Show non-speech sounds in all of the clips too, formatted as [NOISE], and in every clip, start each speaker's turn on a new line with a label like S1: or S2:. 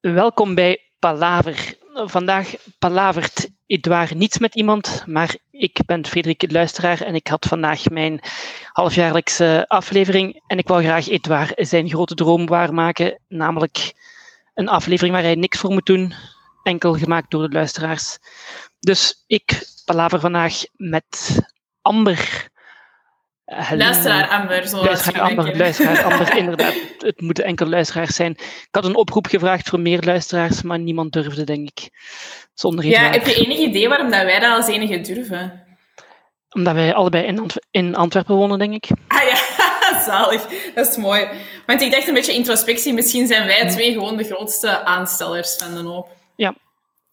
S1: Welkom bij Palaver. Vandaag palavert Edouard niets met iemand, maar ik ben Frederik Luisteraar en ik had vandaag mijn halfjaarlijkse eh, aflevering en ik wou graag Edouard zijn grote droom waarmaken, namelijk een aflevering waar hij niks voor moet doen, enkel gemaakt door de luisteraars. Dus ik palaver vandaag met Amber. Hello.
S2: Luisteraar Amber, zoals
S1: eh, Luisteraar
S2: jullie
S1: Amber,
S2: kennen. [LAUGHS]
S1: luisteraar Amber, inderdaad. Het moeten enkel luisteraars zijn. Ik had een oproep gevraagd voor meer luisteraars, maar niemand durfde, denk ik. Zonder
S2: Ja,
S1: Edouard.
S2: heb je enig idee waarom dat wij dat als enige durven?
S1: Omdat wij allebei in, Antwer- in Antwerpen wonen, denk ik.
S2: Ah ja, [LAUGHS] zalig. Dat is mooi. Want ik dacht een beetje introspectie. Misschien zijn wij twee gewoon de grootste aanstellers van de hoop.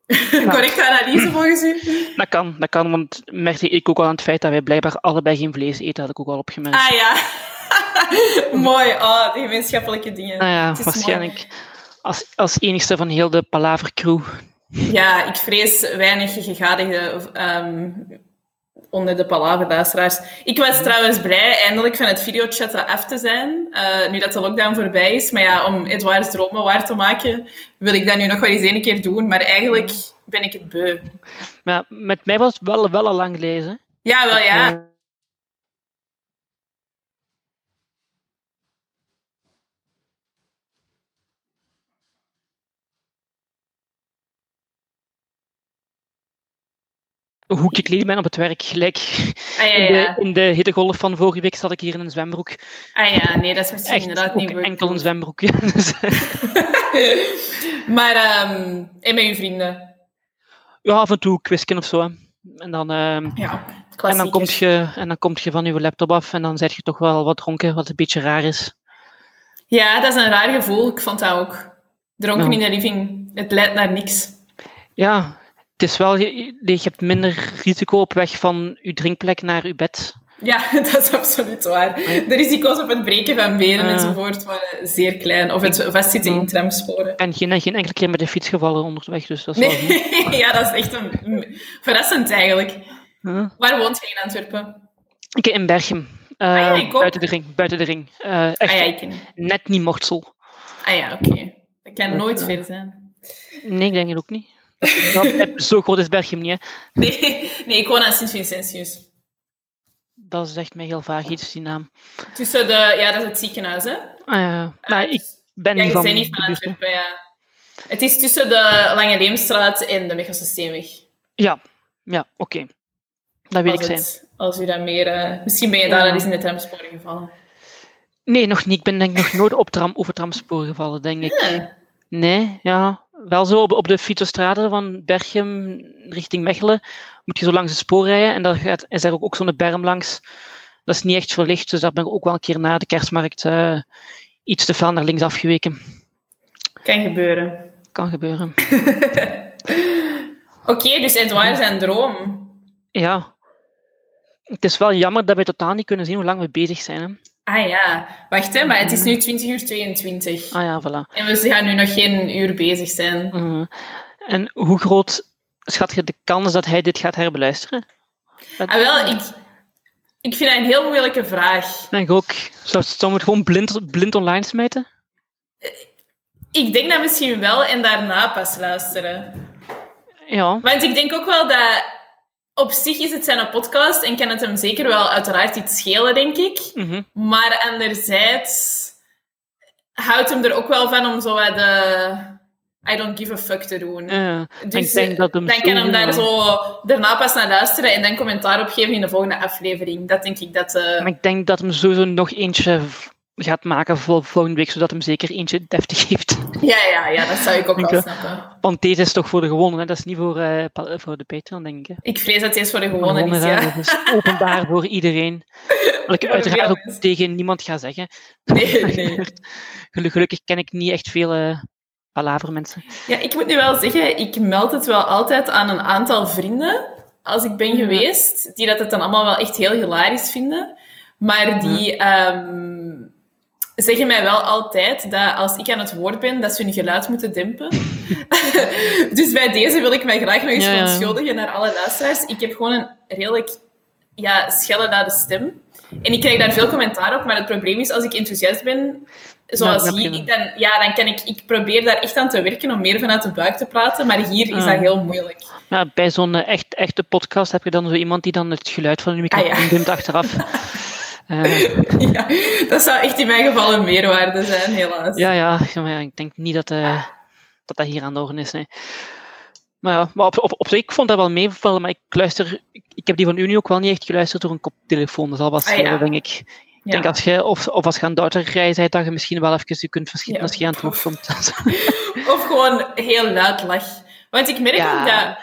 S2: [LAUGHS]
S1: Ja.
S2: Correcte analyse volgens u?
S1: Dat kan, dat kan, want merkte ik ook al aan het feit dat wij blijkbaar allebei geen vlees eten, had ik ook al opgemerkt.
S2: Ah ja. [LAUGHS] mooi. Oh, die gemeenschappelijke dingen.
S1: nou ja,
S2: Het is
S1: waarschijnlijk als, als enigste van heel de Palaver crew.
S2: mooi. Ja, ik vrees weinig gegadigde ehm, onder de palaverluisteraars. Ik was trouwens blij eindelijk van het videochat af te zijn, eh, nu dat de lockdown voorbij is. Maar ja, om Edouard's dromen waar te maken, wil ik dat nu nog wel eens één keer doen. Maar eigenlijk ben ik het beu.
S1: Maar ja, met mij was het wel, wel al lang lezen.
S2: Ja, wel ja.
S1: Hoe ik leed ben op het werk, gelijk
S2: Ah ja,
S1: in, de,
S2: ja.
S1: in de hittegolf van vorige week zat ik hier in een zwembroek.
S2: Ah ja, nee, dat is misschien
S1: Echt
S2: inderdaad
S1: ook
S2: niet goed.
S1: enkel een zwembroek. [LAUGHS] Dus,
S2: [LAUGHS] maar, ehm, en met uw vrienden.
S1: ja, af en toe kwisken of zo. hè. En dan, ehm,
S2: Ja,
S1: en, dan
S2: klassiek.
S1: komt je, en dan komt je van je laptop af en dan zet je toch wel wat dronken, wat een beetje raar is.
S2: Ja, dat is een raar gevoel. Ik vond dat ook. Dronken
S1: Nou.
S2: in de living, het leidt naar niks.
S1: Ja, het is wel, je, je- je hebt minder risico op weg van je drinkplek naar je bed.
S2: Ja, [LAUGHS] dat is absoluut waar. De risico's op het breken van benen
S1: Ja.
S2: enzovoort waren zeer klein. Of het vastzitten in tramsporen.
S1: Ik ben geen, geen enkele keer met de fiets gevallen onderweg, dus dat is wel goed.
S2: Nee, [LAUGHS] ja, dat is echt een, mm, verrassend eigenlijk.
S1: [LAUGHS] Huh?
S2: Waar woont je in Antwerpen?
S1: Ik in Berchem. eh,
S2: Ah ja, ik ook.
S1: buiten de ring, buiten de ring. Eh, echt
S2: Ah ja, ik ken.
S1: net niet mortsel.
S2: Ah ja, oké. Dat kan nooit ver zijn.
S1: Nee, ik denk het ook niet. Dat- zo groot is Berchem niet, hè.
S2: Nee, [LAUGHS] nee ik woon aan Sint-Vincentius.
S1: Dat zegt mij heel vaag iets, die naam.
S2: Tussen de... Ja, dat is het ziekenhuis, hè? Dus-
S1: Eh, maar ik ben
S2: ja,
S1: niet
S2: je
S1: van
S2: bent Ah, niet
S1: de
S2: van
S1: buurt, hè.
S2: Antwerpen, ja. Het is tussen de Lange Leemstraat en de Mechelse Steenweg.
S1: Ja, ja oké. Dat wil ik
S2: Als
S1: zijn.
S2: het- Als u dat meer... eh, misschien ben je daar
S1: Ja.
S2: al eens in de tramsporen gevallen.
S1: Nee, nog niet. Ik ben denk ik nog nooit op tram, over tramspoor gevallen, denk ik.
S2: Ja.
S1: Nee, ja. Wel zo op, op de fietsostrade van Berchem richting Mechelen moet je zo langs het spoor rijden. En daar gaat, is er ook, ook zo'n berm langs. Dat is niet echt verlicht, dus daar ben ik ook wel een keer na de kerstmarkt eh, iets te veel naar links afgeweken.
S2: Kan gebeuren.
S1: Kan gebeuren.
S2: Oké, dus Edouard zijn droom.
S1: Ja. Het is wel jammer dat wij totaal niet kunnen zien hoe lang we bezig zijn. Hè?
S2: Ah ja, wacht hè, maar het is nu 20 uur 22.
S1: Ah ja, voilà.
S2: En we gaan nu nog geen uur bezig zijn.
S1: Mhm. En hoe groot schat je de kans dat hij dit gaat herbeluisteren? Dat-
S2: Ah wel, ik, ik vind dat een heel moeilijke vraag.
S1: Denk ik ook. Zou, zou we het gewoon blind, blind online smijten?
S2: Ik denk dat misschien wel en daarna pas luisteren.
S1: Ja.
S2: Want ik denk ook wel dat op zich is het zijn podcast en kan het hem zeker wel uiteraard iets schelen, denk ik.
S1: Mhm.
S2: Maar anderzijds houdt hem er ook wel van om zo wat de I don't give a fuck te doen.
S1: Eh,
S2: Dus
S1: ik denk dat hem
S2: dan kan hem daar
S1: sowieso-
S2: zo daarna pas naar luisteren en dan commentaar op geven in de volgende aflevering. Dat denk ik dat... eh,
S1: maar ik denk dat hem sowieso nog eentje v- gaat maken vol, volgende week, zodat hem zeker eentje deftig heeft. [LAUGHS]
S2: Ja, ja, ja, dat zou ik ook wel
S1: Dank
S2: snappen.
S1: Want deze is toch voor de gewonnen, hè? dat is niet voor, eh, pa- voor de Patreon, denk ik. hè.
S2: Ik vrees dat het eens voor de
S1: Voor de
S2: gewone is,
S1: gewonnen,
S2: ja.
S1: hè. Dat is
S2: [LAUGHS]
S1: openbaar voor iedereen. Wat ik
S2: Voor
S1: uiteraard
S2: veel
S1: ook
S2: mensen.
S1: tegen niemand ga zeggen. [LAUGHS]
S2: Nee, nee.
S1: Gelu- Gelukkig ken ik niet echt veel eh palavermensen.
S2: Ja, ik moet nu wel zeggen, ik meld het wel altijd aan een aantal vrienden, als ik ben geweest, die dat het dan allemaal wel echt heel hilarisch vinden. Maar die ehm, zeggen mij wel altijd dat als ik aan het woord ben, dat ze hun geluid moeten dempen. [LAUGHS] dus bij deze wil ik mij graag nog eens
S1: Ja, ja.
S2: verontschuldigen naar alle luisteraars. Ik heb gewoon een redelijk ja, schelle naar de stem. En ik krijg daar veel commentaar op, maar het probleem is, als ik enthousiast ben, zoals
S1: Nou, dat
S2: hier,
S1: heb je
S2: ik dan, ja, dan kan ik, ik probeer daar echt aan te werken om meer vanuit de buik te praten, maar hier is
S1: Ah.
S2: dat heel moeilijk. [LAUGHS]
S1: Ja, bij zo'n eh, echt, echte podcast heb je dan zo iemand die dan het geluid van de microfoon
S2: Ah, ja.
S1: doet
S2: [LAUGHS]
S1: achteraf. Eh,
S2: ja, dat zou echt in mijn geval een meerwaarde zijn, helaas.
S1: ja, ja, ja, maar ja, ik denk niet dat, eh, dat dat hier aan de orde is. Nee. Maar, ja, maar op, op, op zich, ik vond dat wel meevallen, maar ik luister, ik, ik heb die van Unie ook wel niet echt geluisterd door een koptelefoon. dus Dat zal wel
S2: Ah, ja.
S1: schelen, denk ik. Ik denk als je, of, of als je aan Douter rijdt, dat je misschien wel even je kunt verschieten
S2: Ja.
S1: als je aan het woord komt. [LAUGHS]
S2: Of gewoon heel luid lach. Want ik merk
S1: Ja.
S2: ook dat,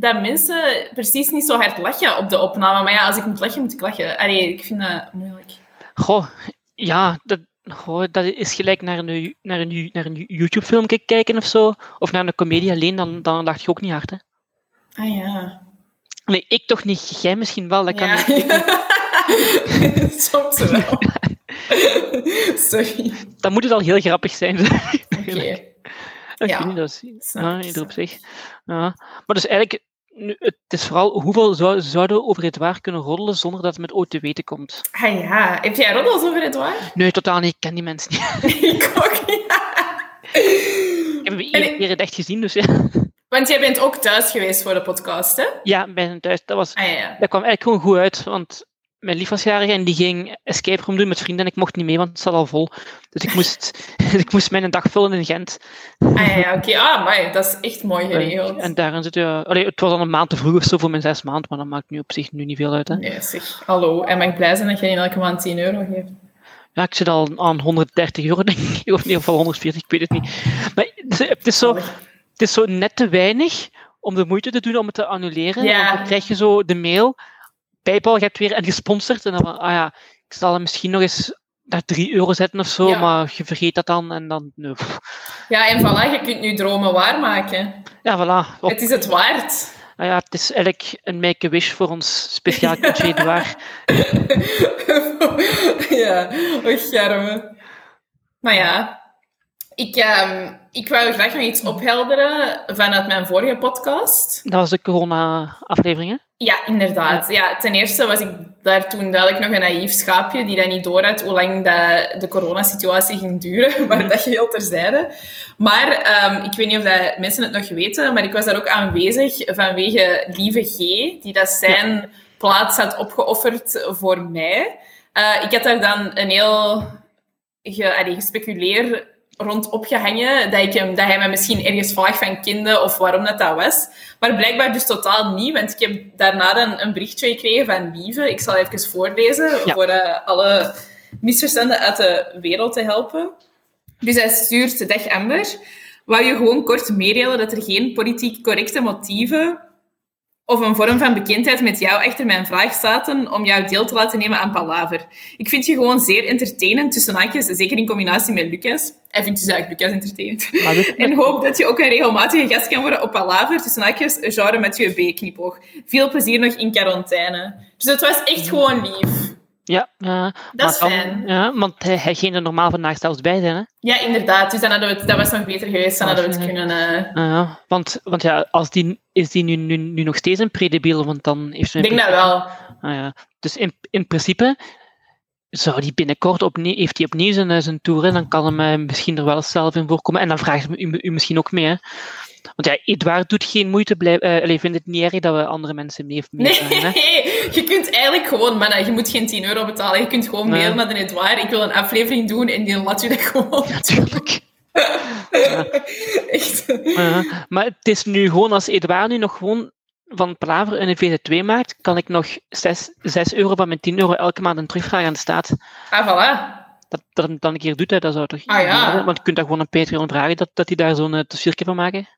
S2: dat mensen precies niet zo hard lachen op de opname. Maar ja, als ik moet lachen, moet ik lachen. Allee, ik vind dat moeilijk.
S1: Goh, ja, dat, goh, dat is gelijk naar een, ju- naar een, ju- naar een YouTube-film kijken of zo. Of naar een comedie alleen, dan, dan lacht je ook niet hard. Hè?
S2: Ah ja.
S1: Nee, ik toch niet. Jij misschien wel. Dat kan
S2: ja.
S1: niet.
S2: [LAUGHS] Soms
S1: [LAUGHS]
S2: wel. Sorry.
S1: Dan moet het al heel grappig zijn.
S2: Oké.
S1: Eigenlijk. Ik
S2: Ja,
S1: weet niet, dat is-
S2: snap
S1: ja,
S2: ik,
S1: ieder op
S2: snap
S1: zich. Ja. Maar dus eigenlijk, nu, het is vooral hoeveel zou, zouden we over het waar kunnen roddelen zonder dat het met ooit te weten komt.
S2: Ah ja. Heb jij roddels over het waar?
S1: Nee, totaal niet. Ik ken die mensen niet. [LAUGHS]
S2: [LAUGHS] ik ook niet.
S1: Ik heb hem
S2: En
S1: één
S2: ik-
S1: keer het echt gezien, dus ja.
S2: Want jij bent ook thuis geweest voor de podcast, hè?
S1: Ja, bij zijn thuis. Dat was
S2: Ah ja.
S1: Dat kwam eigenlijk gewoon goed uit, want mijn lief was jarig en die ging escape room doen met vrienden en ik mocht niet mee, want het zat al vol. Dus ik moest, [LAUGHS] ik moest mijn dag vullen in Gent.
S2: Ah ja, oké. Ah, maar dat is echt mooi geregeld.
S1: En daarin zit je... Allee, het was al een maand te vroeg of zo voor mijn zes maand, maar dat maakt nu op zich nu niet veel uit. Hè.
S2: Nee, zeg. Hallo. En mag ik blij zijn dat jij in elke maand 10 euro geeft?
S1: Ja, ik zit al aan 130 euro, denk ik, [LAUGHS] of in ieder geval 140, ik weet het niet. Maar het is- het is zo, het is zo net te weinig om de moeite te doen om het te annuleren.
S2: Ja.
S1: Want dan krijg je zo de mail, Paypal, je hebt weer en gesponsord. En dan van, ah ja, ik zal hem misschien nog eens naar 3 euro zetten of zo,
S2: Ja.
S1: maar je vergeet dat dan. En dan, nee, pff.
S2: Ja, en voilà, je kunt nu dromen waarmaken.
S1: ja, voilà. Op,
S2: Het is het waard. [LAUGHS]
S1: nou ja, het is eigenlijk een make-a-wish voor ons speciaal coach Edouard.
S2: ja, och, germe. Maar ja, ik, ehm, ik wou graag nog iets ophelderen vanuit mijn vorige podcast.
S1: Dat was de corona-aflevering, hè?
S2: Ja, inderdaad. Ja, ten eerste was ik daar toen duidelijk nog een naïef schaapje die dan niet door had hoe lang dat de coronasituatie ging duren, [LAUGHS] maar dat geheel terzijde. Maar ehm, ik weet niet of dat mensen het nog weten, maar ik was daar ook aanwezig vanwege Lieve G, die dat zijn plaats had opgeofferd voor mij. Eh, ik had daar dan een heel ge, allee, gespeculeer rond opgehangen dat, ik hem, dat hij me misschien ergens vaag van kende of waarom dat dat was. Maar blijkbaar dus totaal niet, want ik heb daarna een, een berichtje gekregen van Lieve. Ik zal even voorlezen
S1: Ja.
S2: voor eh, alle misverstanden uit de wereld te helpen. Dus hij stuurt, dag Amber, wou je gewoon kort meedelen dat er geen politiek correcte motieven of een vorm van bekendheid met jou achter mijn vraag zaten om jou deel te laten nemen aan Palaver. Ik vind je gewoon zeer entertainend, tussen haakjes, zeker in combinatie met Lucas. Hij vindt dus eigenlijk Lucas entertainend.
S1: Maar dit-
S2: En hoop dat je ook een regelmatige gast kan worden op Palaver, tussen haakjes, genre met je B-knipoog. Veel plezier nog in quarantaine. Dus het was echt gewoon lief.
S1: ja, ja, eh,
S2: Dat is
S1: maar dan-
S2: fijn.
S1: Ja, want hij, hij ging er normaal vandaag zelfs bij zijn, hè?
S2: Ja, inderdaad. Dus dan hadden we het, dat was nog beter geweest. Dan hadden we het kunnen... eh,
S1: Ah ja, want, want ja, als die, is die nu, nu, nu nog steeds een predebiel, want dan heeft ze...
S2: Ik
S1: een
S2: denk dat
S1: pre-
S2: wel.
S1: Ah ja. Dus in, in principe zou die binnenkort opnieuw, heeft hij opnieuw zijn, eh, zijn tour en dan kan hem eh, misschien er wel zelf in voorkomen. En dan vraagt u, u, u misschien ook mee. Hè. Want ja, Edouard doet geen moeite, blijf, eh, allee, vindt het niet erg dat we andere mensen mee
S2: Nee,
S1: meevragen. hè.
S2: [LAUGHS] je kunt eigenlijk gewoon, mannen, je moet geen 10 euro betalen. Je kunt gewoon
S1: Nee.
S2: mailen naar de Edouard. Ik wil een aflevering doen en die laat u dat gewoon doen.
S1: Natuurlijk.
S2: [LAUGHS] Echt.
S1: Ja, Eh, maar het is nu gewoon, als Edouard nu nog gewoon van Palaver een VZ2 maakt, kan ik nog 6, 6 euro van mijn 10 euro elke maand een terugvraag aan de staat.
S2: Ah, voilà.
S1: dat dat hem dan een keer doet, hè, dat zou toch...
S2: Ah, ja.
S1: Want je kunt daar gewoon een Patreon vragen, dat, dat die daar zo'n eh, dossiertje van maken.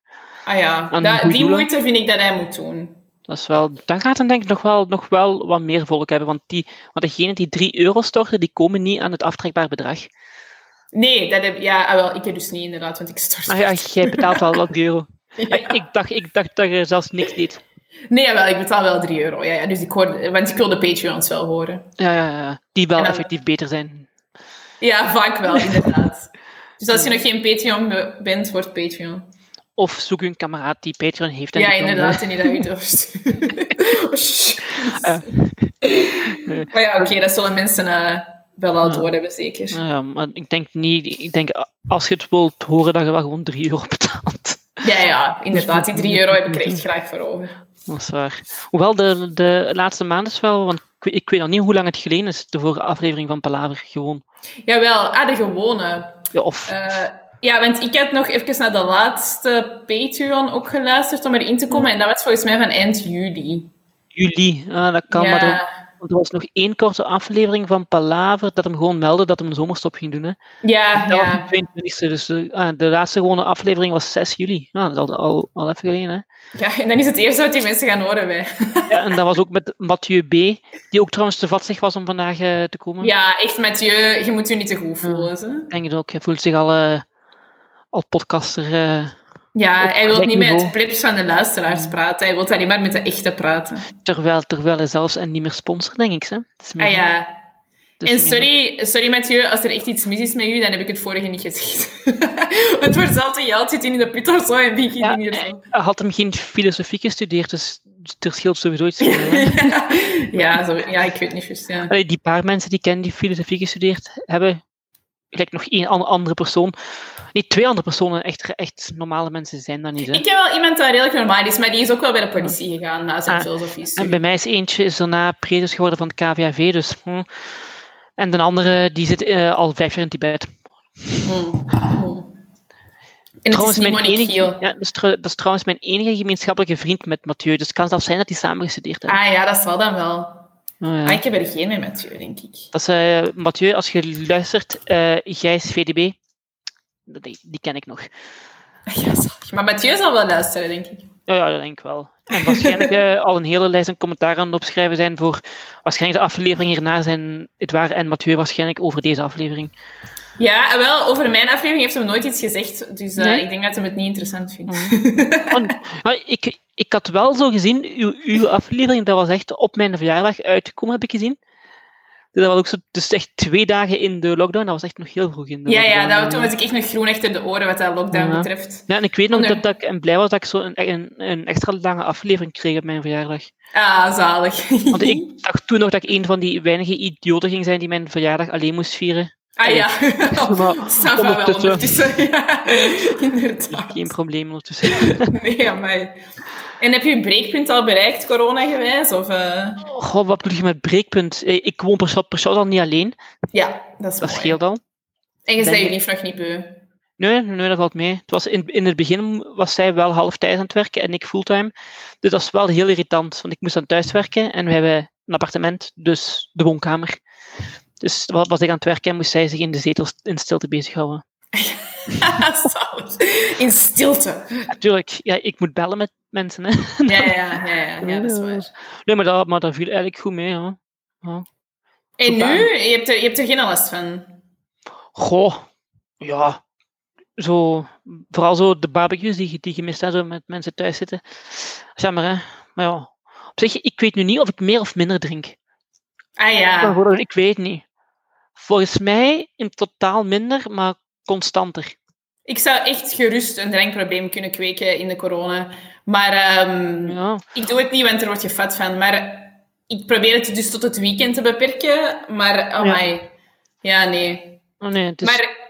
S2: Ah ja,
S1: Aan
S2: Dat-
S1: goede
S2: die
S1: doelen.
S2: moeite vind ik dat hij moet doen.
S1: Dat is wel... Dan gaat hem denk ik nog wel, nog wel wat meer volk hebben, want, die, want degenen die 3 euro storten, die komen niet aan het aftrekbaar bedrag.
S2: Nee, dat heb, ja, ah, wel, ik heb dus niet inderdaad, want ik stort.
S1: Ah ja, jij betaalt wel wat [LAUGHS] euro.
S2: Ja.
S1: Ah, Ik, dacht, ik dacht dat je zelfs niks deed.
S2: Nee, ah, wel, ik betaal wel 3 euro. Ja, ja, dus ik hoor, want ik wil de Patreons wel horen.
S1: Ja, ja, ja, ja. Die wel
S2: En dan-
S1: effectief beter zijn.
S2: Ja, vaak
S1: [LAUGHS]
S2: wel, inderdaad. Dus als je nog geen Patreon be- bent, wordt Patreon.
S1: Of zoek een kameraad die Patreon heeft. en
S2: Ja,
S1: [LAUGHS] die kan, eh,
S2: inderdaad, en die dat u doorstuurt.
S1: eh,
S2: nee. Oh, Maar ja, oké, okay, dat zullen mensen uh, wel al door ja. hebben, zeker.
S1: eh, Ja, maar ik denk niet, ik denk als je het wilt horen, dat je wel gewoon 3 euro betaalt.
S2: Ja, ja, inderdaad. Die 3 euro heb ik er echt graag voor over.
S1: Dat is waar. Hoewel de, de laatste maand is wel, want ik, ik weet al niet hoe lang het geleden is, de vorige aflevering van Palaver, gewoon.
S2: Jawel, ah, de gewone.
S1: Ja, of...
S2: Uh, ja, want ik had nog even naar de laatste Patreon ook geluisterd om erin te komen. En dat was volgens mij van eind juli.
S1: Juli, ah, dat kan. Ja. Maar er, er, was nog één korte aflevering van Palaver dat hem gewoon meldde dat hem een zomerstop ging doen. Hè.
S2: Ja, ja.
S1: De 22e, dus de, ah, de laatste gewone aflevering was 6 juli. Nou, dat is al, al even geleden. Hè.
S2: Ja, en dan is het eerste wat die mensen gaan horen bij.
S1: Ja, en dat was ook met Mathieu B., die ook trouwens te vatzig was om vandaag uh, te komen.
S2: Ja, echt Mathieu, je moet je niet te goed voelen. Ja,
S1: denk het ook, hij voelt zich al... Uh, als podcaster. Uh,
S2: ja, hij wil niet meer met blips van de luisteraars praten. Hij wil alleen maar met de echte praten.
S1: Terwijl, terwijl hij zelfs en niet meer sponsor, denk ik. Hè?
S2: ah ja. Dus en sorry, sorry Mathieu, als er echt iets mis is met u, dan heb ik het vorige niet gezegd. [LAUGHS] Want voor hetzelfde geld zit hij in de put of zo en die ging ja, hier zo.
S1: Hij had hem geen filosofie gestudeerd, dus er scheelt sowieso iets.
S2: [LAUGHS] [LAUGHS] ja, ja, zo, ja, ik weet niet juist. Ja.
S1: Allee, die paar mensen die kennen die filosofie gestudeerd hebben, gelijk nog één andere persoon. Nee, twee andere personen. Echt, echt normale mensen zijn dat niet. Hè?
S2: Ik heb wel iemand die redelijk normaal is, maar die is ook wel bij de politie gegaan na zijn ah, filosofie.
S1: En bij mij is eentje is daarna predus geworden van het KVAV, dus... Hm. En de andere, die zit uh, al vijf jaar in Tibet.
S2: Hmm. Hmm. En trouwens, mijn enige,
S1: ja, dat, is, dat, is, trouwens mijn enige gemeenschappelijke vriend met Mathieu. Dus het kan zelfs zijn dat die samen gestudeerd hebben.
S2: Ah ja, dat zal dan wel. Oh, ja. ah, ik heb er geen mee, Mathieu, denk ik.
S1: Dat is, uh, Mathieu, als je luistert, uh, jij is VDB. Die, die, ken ik nog.
S2: [LAUGHS] Ja, maar Mathieu zal wel luisteren, denk ik.
S1: Oh, ja, dat denk ik wel. En
S2: [LAUGHS]
S1: waarschijnlijk uh, al een hele lijst aan commentaar aan het opschrijven zijn voor waarschijnlijk de aflevering hierna zijn Edouard en Mathieu waarschijnlijk over deze aflevering.
S2: [LAUGHS] Ja, wel, over mijn aflevering heeft hij nooit iets gezegd, dus nee? ik denk dat hij het niet interessant vindt.
S1: Oh. maar ik, ik had wel zo gezien, uw, uw aflevering, dat was echt op mijn verjaardag uitgekomen, heb ik gezien. Dus dat was ook zo, dus echt twee dagen in de lockdown, dat was echt nog heel vroeg in de
S2: [LAUGHS] Ja,
S1: lockdown.
S2: ja, dat, toen was ik echt nog groen achter de oren wat dat lockdown
S1: ja.
S2: betreft.
S1: Ja, en ik weet nog oh, nee. dat, ik en blij was dat ik zo een, een, een, extra lange aflevering kreeg op mijn verjaardag.
S2: Ah, [LAUGHS] zalig.
S1: Want ik dacht toen nog dat ik een van die weinige idioten ging zijn die mijn verjaardag alleen moest vieren.
S2: Ah ja, [LAUGHS] Safa wel ondertussen. [LAUGHS] Ja, inderdaad.
S1: Geen probleem ondertussen.
S2: nee, maar. En heb je een breekpunt al bereikt, corona-gewijs? Of, uh...
S1: Goh, wat bedoel je met breekpunt? Eh, Ik woon per persoon al niet alleen.
S2: Ja, dat is
S1: Dat mooi. scheelt al.
S2: En je zei je lief nog niet beu? [LAUGHS]
S1: Nee, nee, dat valt mee. Het was in, in het begin was zij wel halftijds aan het werken en ik fulltime. Dus dat is wel heel irritant, want ik moest dan thuis werken en we hebben een appartement, dus de woonkamer. Dus wat was ik aan het werken moest zij zich in de zetel in stilte bezighouden.
S2: in stilte.
S1: Natuurlijk, ja, ja, ik moet bellen met mensen. Hè.
S2: Ja, ja, ja, ja, ja, dat is waar.
S1: Nee, maar dat, maar dat viel eigenlijk goed mee. Hoor. Ja.
S2: En goed nu? Je hebt, er, je hebt er geen last van?
S1: Goh, ja. Zo, vooral zo de barbecues die, die je mist hebt, zo met mensen thuis zitten. Jammer, hè. Maar ja, op zich, ik weet nu niet of ik meer of minder drink.
S2: Ah ja.
S1: Ik weet niet. Volgens mij in totaal minder, maar constanter.
S2: Ik zou echt gerust een drankprobleem kunnen kweken in de corona. Maar um, ja. ik doe het niet, want er wordt gevat van. Maar ik probeer het dus tot het weekend te beperken. Maar, oh my. Ja, ja nee.
S1: Oh nee het is...
S2: Maar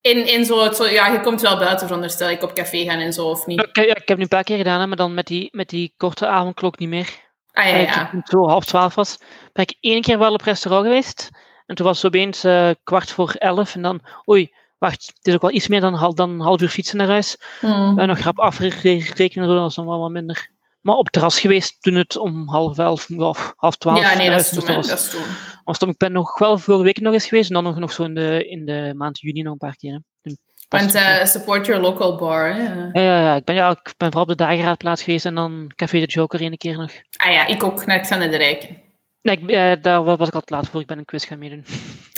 S2: en, en zo, zo, ja, je komt wel buiten, veronderstel ik, op café gaan en zo, of niet?
S1: Ja, ik, heb nu een paar keer gedaan, hè, maar dan met die, met die korte avondklok niet meer.
S2: Ah, ja, ja.
S1: Toen zo half twaalf was, ben ik één keer wel op restaurant geweest. En toen was het opeens uh, kwart voor elf. En dan, oei, wacht, het is ook wel iets meer dan, dan een half uur fietsen naar huis.
S2: Hmm.
S1: Mm. En nog grap afrekenen, dat was dan wel wat minder. Maar op het terras geweest toen het om half elf of half twaalf
S2: Ja, nee, dat is toen. Dus was, dat is toen.
S1: Was dan, ik ben nog wel vorige week nog eens geweest. En dan nog, nog zo in de, in de maand juni nog een paar keer. Hè.
S2: Want uh, support your local bar.
S1: Ja, ja, ja, ik, ben, ja ik ben vooral op de dageraadplaats geweest en dan Café de Joker één keer nog.
S2: Ah ja, ik ook naar Xander de Rijken.
S1: Nee, ik, eh, daar was ik al te laat voor. Ik ben een quiz gaan meedoen.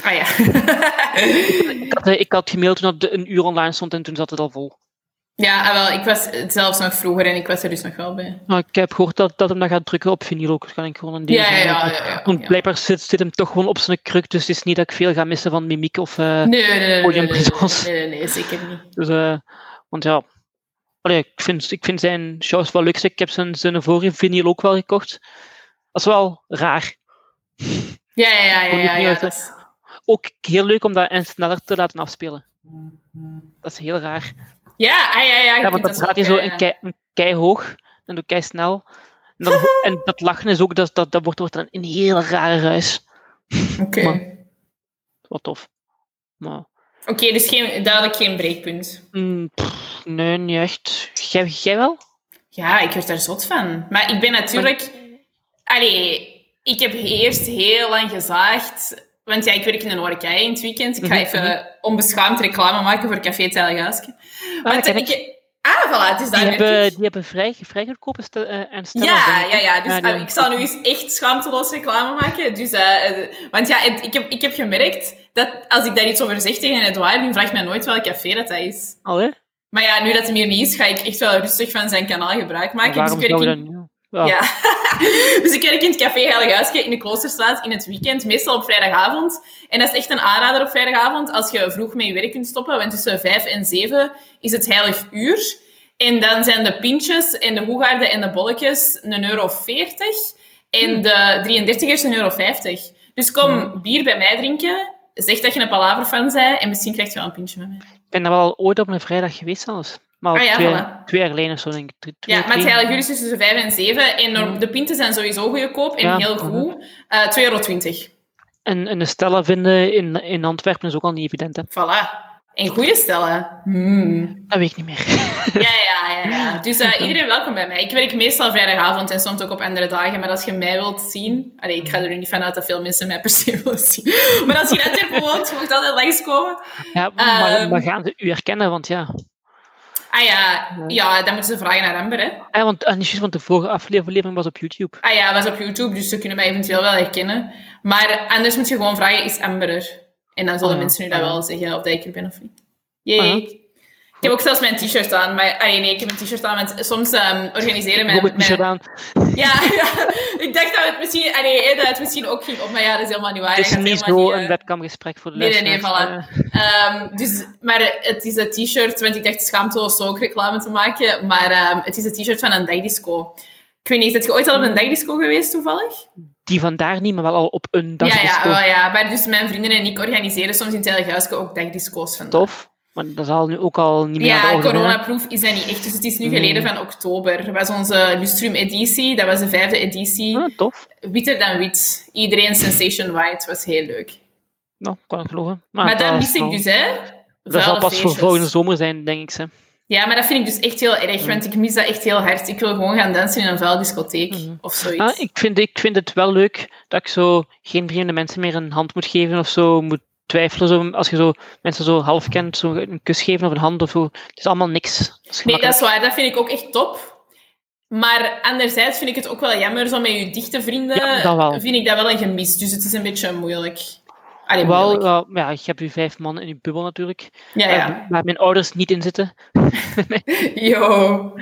S2: Ah ja. [LAUGHS]
S1: ik, had, eh, ik had gemaild toen het een uur online stond en toen zat het al vol.
S2: Ja, ah, wel, ik was het zelfs nog vroeger en ik was er dus nog wel bij.
S1: Nou, ik heb gehoord dat, dat hem dat gaat drukken op vinyl ook. Dus kan ik gewoon een deel
S2: ja, ja, ja, ja,
S1: Want blijkbaar zit, zit hem toch gewoon op zijn kruk, dus het is niet dat ik veel ga missen van mimiek of uh,
S2: nee, nee, nee, nee, nee, zeker niet.
S1: Dus, eh want ja, allee, ik, vind, ik vind zijn shows wel leuk. Ik heb zijn, zijn vorige vinyl ook wel gekocht. Dat is wel raar.
S2: Ja, ja, ja. ja, ja,
S1: dat is- Ook heel leuk om dat en sneller te laten afspelen. Dat is heel raar.
S2: Ja, ah, ja, ja. je
S1: Ja,
S2: kunt
S1: want dan
S2: dat
S1: gaat hij
S2: ook,
S1: zo
S2: eh, ja, ja.
S1: een kei, een kei hoog en doe kei snel. En,
S2: [LAUGHS]
S1: dan- en dat lachen is ook, dat, dat, dat wordt, wordt dan een heel rare ruis.
S2: Oké,
S1: Wat tof. Maar,
S2: Oké, dus geen, duidelijk geen breekpunt.
S1: mm, pff, nee, niet echt. Jij, jij wel?
S2: Ja, ik word daar zot van. Maar ik ben natuurlijk... Allee, ik heb eerst heel lang gezaagd... Want ja, ik werk in een horeca in het weekend. Ik ga
S1: Mhm,
S2: even onbeschaamd reclame maken voor Café Telgaasje.
S1: Ah,
S2: Want
S1: ken ik.
S2: ik... Ah, voilà, het is
S1: Die
S2: daar
S1: hebben,
S2: werk ik.
S1: die hebben vrij, vrij goedkope stel- eh, en stellen.
S2: Ja, ja, ja. Dus
S1: Ja, die-
S2: ah, ik zal nu eens echt schaamteloos reclame maken. Dus, eh, eh, want ja, het- ik, heb, ik heb gemerkt dat als ik daar iets over zeg tegen Edouard, die vraagt mij nooit welk café dat dat is.
S1: Allee,
S2: Maar ja, nu dat hij hier niet is, ga ik echt wel rustig van zijn kanaal gebruik maken.
S1: waarom
S2: dus ik
S1: zouden
S2: werk
S1: we
S2: in-
S1: dat niet doen? Ja.
S2: ja. [LAUGHS] dus ik werk in het café Heilighuisje in de Kloosterstraat in het weekend, meestal op vrijdagavond. En dat is echt een aanrader op vrijdagavond als je vroeg met je werk kunt stoppen, want tussen vijf en zeven is het heilig uur. En dan zijn de pintjes en de hoegaarden en de bolletjes een euro veertig
S1: Hmm.
S2: en de 33ers een euro vijftig. Dus kom bier bij mij drinken, zeg dat je een palaver van bent en misschien krijg je wel een pintje met mij.
S1: Ik ben daar wel ooit op een vrijdag geweest zelfs. Maar al
S2: Ah ja,
S1: twee,
S2: voilà.
S1: twee jaar geleden of zo, denk ik. Twee- twee,
S2: Ja, maar het
S1: drie.
S2: heilig uur is dus tussen vijf en zeven en norm-
S1: Ja.
S2: de pinten zijn sowieso goedkoop en
S1: Hmm. Ja,
S2: heel
S1: mhm.
S2: goed. Eh 2,20 euro.
S1: En, en een stella vinden in, in Antwerpen is ook al niet evident, hè.
S2: Voilà. En goede stellen. Hmm.
S1: Dat weet ik niet meer. [LAUGHS]
S2: Ja, ja, ja, ja. Dus eh, iedereen welkom bij mij. Ik werk meestal vrijdagavond en soms ook op andere dagen. Maar als je mij wilt zien... Allee, ik ga er nu niet vanuit dat veel mensen mij per se [LAUGHS] willen zien. Maar als je in Antwerpen woont, je mag altijd langskomen.
S1: Ja, maar,
S2: Ehm.
S1: maar gaan ze u herkennen? Want ja.
S2: Ah ja, ja, dan moeten ze vragen naar Amber, hè.
S1: Eh, want, en niet juist, want de vorige aflevering was op YouTube.
S2: Ah ja, was op YouTube, dus ze kunnen mij eventueel wel herkennen. Maar anders moet je gewoon vragen, is Amber er? En dan zullen
S1: Ah ja,
S2: mensen nu dat
S1: ah ja.
S2: wel zeggen, of dat ik er ben of niet. Jee.
S1: Ah ja.
S2: Ik heb ook zelfs mijn t-shirt aan. Maar, ah, nee, ik heb mijn t-shirt aan, want soms ehm, organiseren
S1: Ik heb
S2: mijn...
S1: het niet gedaan.
S2: mijn ja, [LAUGHS] ja, ik dacht dat het misschien... ah, nee, hè, dat het misschien ook ging op, maar ja, dat is helemaal niet waar.
S1: Het is
S2: Dat gaat
S1: niet
S2: helemaal
S1: zo
S2: niet,
S1: een
S2: eh,
S1: webcamgesprek voor de
S2: Nee, nee, nee,
S1: luisteraars, eh.
S2: Ehm, dus, maar het is een t-shirt, want ik dacht schaamteloos zo ook reclame te maken. Maar ehm, het is een t-shirt van een dagdisco. Ik weet niet, is je ooit al op een dagdisco geweest toevallig?
S1: Die vandaar niet, maar wel al op een dag.
S2: ja,
S1: is
S2: ja,
S1: toch
S2: wel, ja, maar dus mijn vrienden en ik organiseren soms in het Heilig Huisje ook dagdisco's vandaag.
S1: Tof. Maar dat zal nu ook al niet meer aan de
S2: Ja,
S1: orde zijn, hè.
S2: coronaproof is dat niet echt. Dus het is nu
S1: Nee.
S2: geleden van oktober. Dat was onze Lustrum editie. Dat was de vijfde editie.
S1: Ah, tof.
S2: Witter dan wit. Iedereen sensation white. was heel leuk.
S1: Nou, kan ik geloven.
S2: Maar dat
S1: is
S2: mis ik
S1: wel-
S2: dus, hè.
S1: Dat zal
S2: Vuile
S1: pas voor
S2: feestjes.
S1: volgende zomer zijn, denk ik. Ze.
S2: Ja, maar dat vind ik dus echt heel erg, want ik mis dat echt heel hard. Ik wil gewoon gaan dansen in een vuil discotheek
S1: Mhm.
S2: of zoiets.
S1: Ah, ik, vind, ik vind het wel leuk dat ik zo geen vreemde mensen meer een hand moet geven of zo. Moet twijfelen. Zo, als je zo mensen zo half kent, zo een kus geven of een hand of zo. Het is allemaal niks. Dat is
S2: Nee, dat
S1: gemakkelijk.
S2: is waar. Dat vind ik ook echt top. Maar anderzijds vind ik het ook wel jammer, zo met je dichte vrienden
S1: Ja, dat wel.
S2: vind ik dat wel een gemis. Dus het is een beetje moeilijk. Allee,
S1: wel,
S2: moeilijk.
S1: wel, ja, je hebt je vijf man in je bubbel natuurlijk.
S2: Ja, ja.
S1: Waar, waar mijn ouders niet in zitten. ehm,
S2: [LAUGHS] Yo.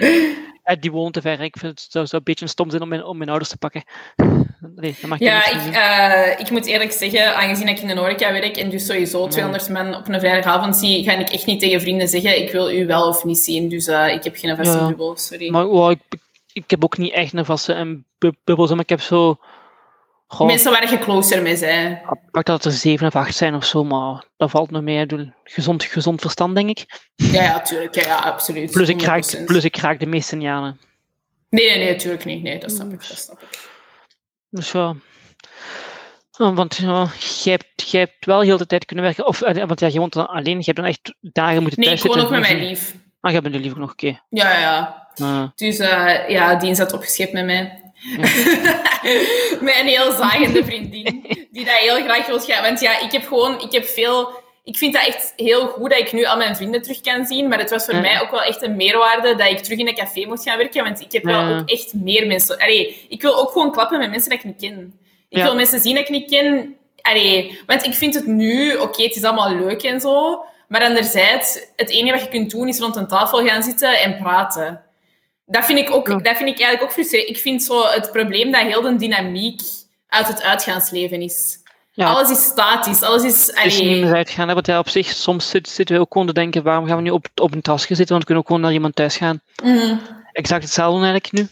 S1: Eh, die wonen te ver. hè. Ik vind het zou, zou een beetje stom zijn om mijn, om mijn ouders te pakken. [LAUGHS] Nee, dat mag je
S2: Ja,
S1: niet
S2: ik, eh, ik moet eerlijk zeggen, aangezien ik in een horeca werk en dus sowieso 200 man op een vrijdagavond zie, ga ik echt niet tegen vrienden zeggen, ik wil u wel of niet zien. Dus eh, ik heb geen vaste
S1: Ja.
S2: bubbel, sorry.
S1: Maar wow, ik, ik heb ook niet echt een vaste en bu- bubbels, maar ik heb zo. Goh,
S2: Mensen waar je closer mee zijn.
S1: ik pak dat er zeven of acht zijn of zo, maar dat valt nog mee. Ik bedoel, Gezond, gezond verstand, denk ik.
S2: Ja, ja, tuurlijk. Ja, ja absoluut.
S1: Plus ik, raak,
S2: 100%.
S1: plus ik raak de meeste jaren.
S2: Nee, nee, nee, tuurlijk niet. Nee, dat snap ik. Dat snap ik.
S1: Dus ja. Eh, Want ja, jij, hebt, jij hebt wel heel de tijd kunnen werken. Of, eh, want ja, je woont dan alleen, je hebt dan echt dagen moeten
S2: Nee, ik
S1: thuiszitten.
S2: woon ook met
S1: Dus-
S2: mijn lief.
S1: Ah, jij bent nu liever nog, oké.
S2: Ja, ja, ja.
S1: Eh,
S2: Dus eh, ja, die zat opgescheept
S1: [LAUGHS]
S2: met mij. mijn heel zagende vriendin, die dat heel graag wil gaan. Want ja, ik heb gewoon, ik heb veel... Ik vind dat echt heel goed dat ik nu al mijn vrienden terug kan zien. Maar het was voor
S1: Ja.
S2: mij ook wel echt een meerwaarde dat ik terug in een café moest gaan werken. Want ik heb
S1: Ja.
S2: wel ook echt meer mensen... Allee, ik wil ook gewoon klappen met mensen dat ik niet ken. Ik
S1: Ja.
S2: wil mensen zien dat ik niet ken. Allee, want ik vind het nu, oké, het is allemaal leuk en zo. Maar anderzijds, het enige wat je kunt doen is rond een tafel gaan zitten en praten. Dat vind ik, ook,
S1: Ja.
S2: dat vind ik eigenlijk ook frustrerend. Ik vind zo het probleem dat heel de dynamiek uit het uitgaansleven is.
S1: Ja.
S2: Alles is statisch, alles is...
S1: Het is
S2: allee,
S1: niet meer uitgaan, hè, want ja, op zich, soms zit- zitten we ook gewoon te denken, waarom gaan we nu op, op een tasje zitten, want we kunnen ook gewoon naar iemand thuis gaan.
S2: mm,
S1: Exact hetzelfde eigenlijk nu.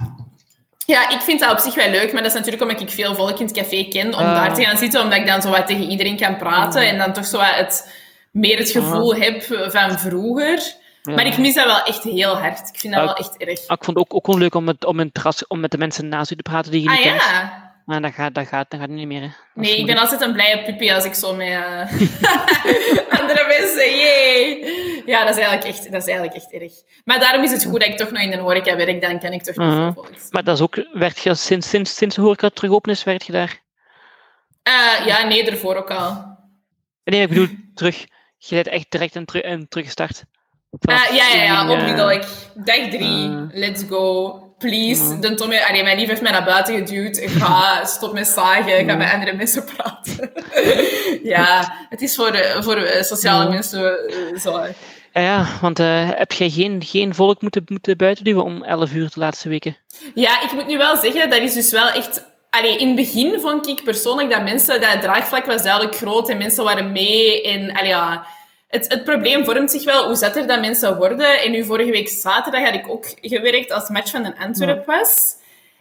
S2: Ja, ik vind dat op zich wel leuk, maar dat is natuurlijk omdat ik veel volk in het café ken, om
S1: Ah.
S2: daar te gaan zitten, omdat ik dan zo wat tegen iedereen kan praten en dan toch zo wat het, meer het gevoel heb van vroeger.
S1: Ah. Ja.
S2: Maar ik mis dat wel echt heel hard. Ik vind dat
S1: Ah.
S2: wel echt erg.
S1: Ah, ik vond het ook, ook onleuk om met, om, een terras, om met de mensen naast u te praten die je
S2: Ah
S1: niet kent.
S2: ja.
S1: Maar dat gaat, dat gaat, dat gaat niet meer. Hè. Dat is
S2: Nee, ik ben
S1: moeilijk.
S2: altijd een blije puppy als ik zo met eh, andere mensen, jee. Ja, dat is, eigenlijk echt, dat is eigenlijk echt erg. Maar daarom is het goed dat ik toch nog in de horeca werk, dan kan ik toch nog
S1: Mhm.
S2: veel volk zien.
S1: Maar dat is ook, werd je sinds, sinds, sinds de horeca terug open is, werd je daar...
S2: Eh, ja, nee, daarvoor ook al. Eh,
S1: Nee, ik bedoel, terug. Je bent echt direct een, teru- een teruggestart. Vanaf
S2: Eh, ja, ja, ja,
S1: streaming, eh,
S2: onmiddellijk. Dag drie,
S1: Mm.
S2: let's go. Please,
S1: Mm.
S2: de Tommy, allee, mijn lief heeft mij naar buiten geduwd. Ik Ga, stop met zagen, ik ga
S1: Mm.
S2: met andere mensen praten. [LAUGHS] ja, het is voor, eh, voor eh, sociale
S1: Mm.
S2: mensen eh, zo.
S1: Ja, ja, want eh, heb jij geen, geen volk moeten, moeten buitenduwen om 11 uur de laatste weken?
S2: Ja, ik moet nu wel zeggen, dat is dus wel echt... Allee, in het begin vond ik persoonlijk dat mensen... Dat draagvlak was duidelijk groot en mensen waren mee. En allee, ja, het, het probleem vormt zich wel hoe zetter dat mensen worden. En nu vorige week zaterdag had ik ook gewerkt als match van een Antwerp was.